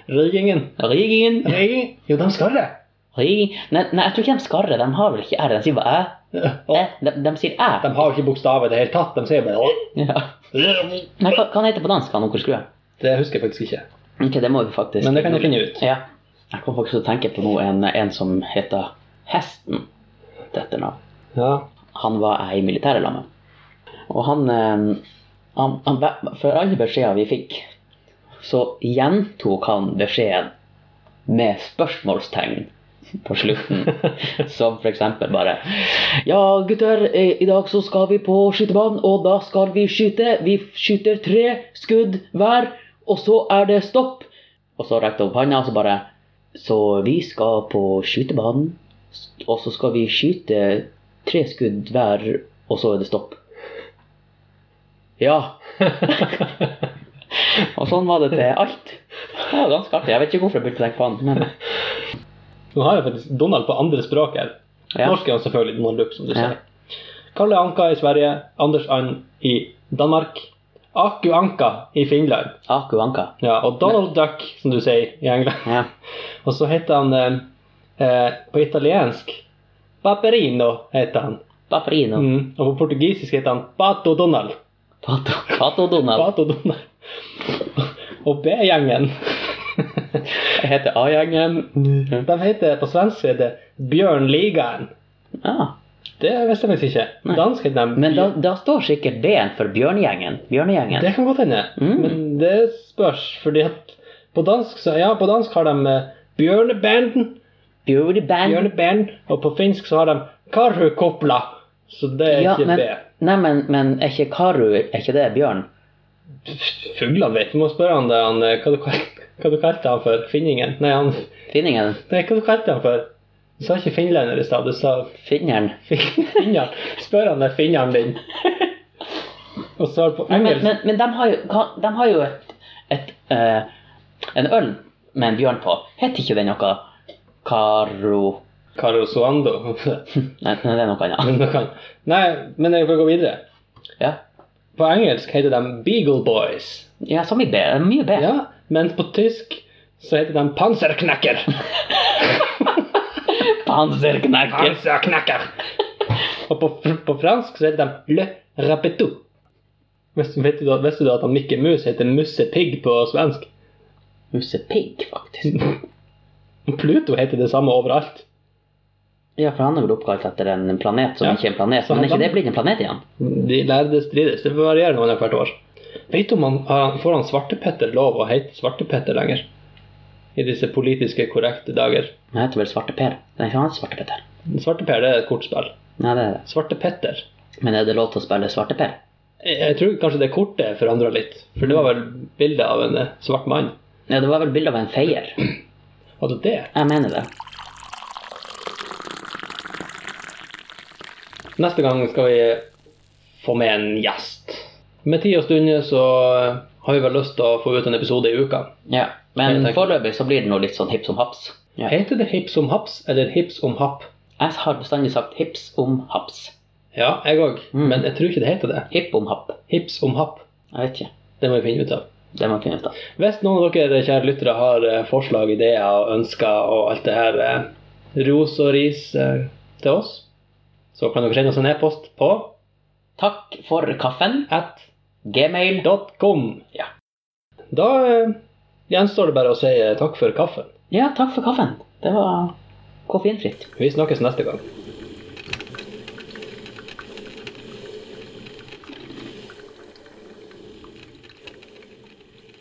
Speaker 2: Røygingen.
Speaker 1: Rigingen.
Speaker 2: Røygingen? Jo, de skarrer.
Speaker 1: Riging. Nei, nei, jeg tror ikke de skarrer. De har vel ikke R. De sier bare æ.
Speaker 2: Og
Speaker 1: Æ. De, de sier æ.
Speaker 2: De har jo ikke bokstaver i det hele tatt. De sier bare
Speaker 1: *laughs* Ja. Nei, hva, hva han heter på dansk, han onkel Skrue?
Speaker 2: Det husker jeg faktisk ikke.
Speaker 1: Ok, det må vi faktisk
Speaker 2: Men det kan jeg finne ut.
Speaker 1: Ja. Jeg kom faktisk til å tenke på noe, en, en som heter Hesten. Dette navn.
Speaker 2: Ja.
Speaker 1: Han var jeg i militæret sammen med. Og han, eh, han, han For alle beskjeder vi fikk, så gjentok han beskjeden med spørsmålstegn på slutten. Som for eksempel bare Ja, gutter, eh, i dag så skal vi på skytebanen, og da skal vi skyte. Vi skyter tre skudd hver, og så er det stopp. Og så rekte jeg opp handa, og så bare Så vi skal på skytebanen, og så skal vi skyte tre skudd hver, og så er det stopp.
Speaker 2: *laughs*
Speaker 1: Ja. og sånn var det til alt. Det var ganske artig. Jeg vet ikke hvorfor jeg begynte å tenke på han, men
Speaker 2: Nå har jeg faktisk Donald på andre språk her.
Speaker 1: ja.
Speaker 2: Norsk er jo selvfølgelig Donald Duck, som du
Speaker 1: Ja.
Speaker 2: sier. Kalle Anka i Sverige, Anders And i Danmark, Aku Anka i Finland,
Speaker 1: Aku Anka.
Speaker 2: ja, og Donald Duck, som du sier, i England. *laughs*
Speaker 1: Ja.
Speaker 2: Og så heter han eh, eh, på italiensk Paperino, heter han.
Speaker 1: Paperino.
Speaker 2: Mm. Og på portugisisk heter han Pato Donald.
Speaker 1: Pato, Pato Donald.
Speaker 2: Pato Donald. *laughs* Og B-gjengen
Speaker 1: Jeg heter A-gjengen.
Speaker 2: De heter på svensk er det Bjørn Ligaen.
Speaker 1: Ja.
Speaker 2: Det visste jeg faktisk ikke.
Speaker 1: Nei.
Speaker 2: Dansk heter de
Speaker 1: Men da, da står sikkert B-en for Bjørnegjengen. Bjørnegjengen.
Speaker 2: Det kan godt hende.
Speaker 1: Mm.
Speaker 2: Men det spørs, fordi at på dansk, så, ja, på dansk har de eh, Bjørnebanden.
Speaker 1: Bjørneband.
Speaker 2: Bjørneband. Og på finsk så har de Karhukopla. Så det er
Speaker 1: Ja,
Speaker 2: ikke
Speaker 1: men,
Speaker 2: det.
Speaker 1: nei, men, men er ikke Karu er ikke det bjørn?
Speaker 2: Fuglene vet Du må spørre han det, han, eh, hva, du, kal- *laughs* hva du kalte han for. Finningen. Nei, han,
Speaker 1: Finningen?
Speaker 2: nei, hva du kalte han for? Du sa ikke finlender i stad, du sa
Speaker 1: Finneren?
Speaker 2: fin- *laughs* finner. Spør han det er finneren din. Og svar på
Speaker 1: Men,
Speaker 2: engelsk.
Speaker 1: men, men de har jo, ka- de har jo et, et eh, en øl med en bjørn på. Heter ikke det noe Karo... Hm,
Speaker 2: Karosuando. *laughs*
Speaker 1: Nei, nei, det er noe annet.
Speaker 2: Men nå kan- Nei, men jeg får gå videre.
Speaker 1: Ja,
Speaker 2: På engelsk heter de Beagle Boys.
Speaker 1: ja som i B. Mye B.
Speaker 2: Ja, mens på tysk så heter de Panserknekker.
Speaker 1: Panserknekker.
Speaker 2: Panserknekker. Og på, fr- på fransk så heter de Le Rapetou. Visste vet du, at- visste du at han Mikke Mus heter Mussepigg på svensk?
Speaker 1: Musepigg, faktisk.
Speaker 2: Pluto heter det samme overalt.
Speaker 1: Ja, for han er vel oppkalt etter en planet som
Speaker 2: Ja.
Speaker 1: ikke er en planet.
Speaker 2: Så
Speaker 1: Men er
Speaker 2: han-
Speaker 1: ikke det blitt en planet igjen?
Speaker 2: De lærde strides. Det varierer noen hvert år. Vet du om han, har han- får han Svartepetter lov å hete Svartepetter lenger? I disse politiske korrekte dager.
Speaker 1: Han heter vel Svarte Per. Nei, han heter Svarte Petter.
Speaker 2: Svarteper det er et kortspill.
Speaker 1: Nei, det er det.
Speaker 2: Svartepetter
Speaker 1: Men er det lov til å spille Svarte Per?
Speaker 2: Jeg jeg tror kanskje det kortet forandra litt. For det var vel bilde av en eh, svart mann.
Speaker 1: Ja, det var vel bilde av en feier.
Speaker 2: Var det det?
Speaker 1: Jeg mener det.
Speaker 2: Neste gang skal vi eh, få med en gjest. Med tid og stunder så eh, har vi vel lyst til å få ut en episode i uka.
Speaker 1: Ja. Men
Speaker 2: Jeg tenker-
Speaker 1: foreløpig så blir det nå litt sånn hipp som haps. Ja.
Speaker 2: Heter det Hips om haps eller Hips om happ?
Speaker 1: Jeg har bestandig sagt hips om haps.
Speaker 2: Ja, jeg òg.
Speaker 1: Mm.
Speaker 2: Men jeg tror ikke det heter det.
Speaker 1: Hipp om happ.
Speaker 2: Hips om happ.
Speaker 1: Jeg vet ikke.
Speaker 2: Det må vi finne ut av.
Speaker 1: Det må jeg finne ut av.
Speaker 2: Hvis noen av dere kjære lyttere har eh, forslag, ideer og ønsker og alt det her eh, ros og ris eh, til oss, så kan dere sende oss en e-post på
Speaker 1: Takk for kaffen.
Speaker 2: at
Speaker 1: Gmail.
Speaker 2: .com.
Speaker 1: Ja.
Speaker 2: Da eh, gjenstår det bare å si eh, takk for kaffen.
Speaker 1: Ja, takk for kaffen. Det var koffeinfritt.
Speaker 2: Vi snakkes neste gang.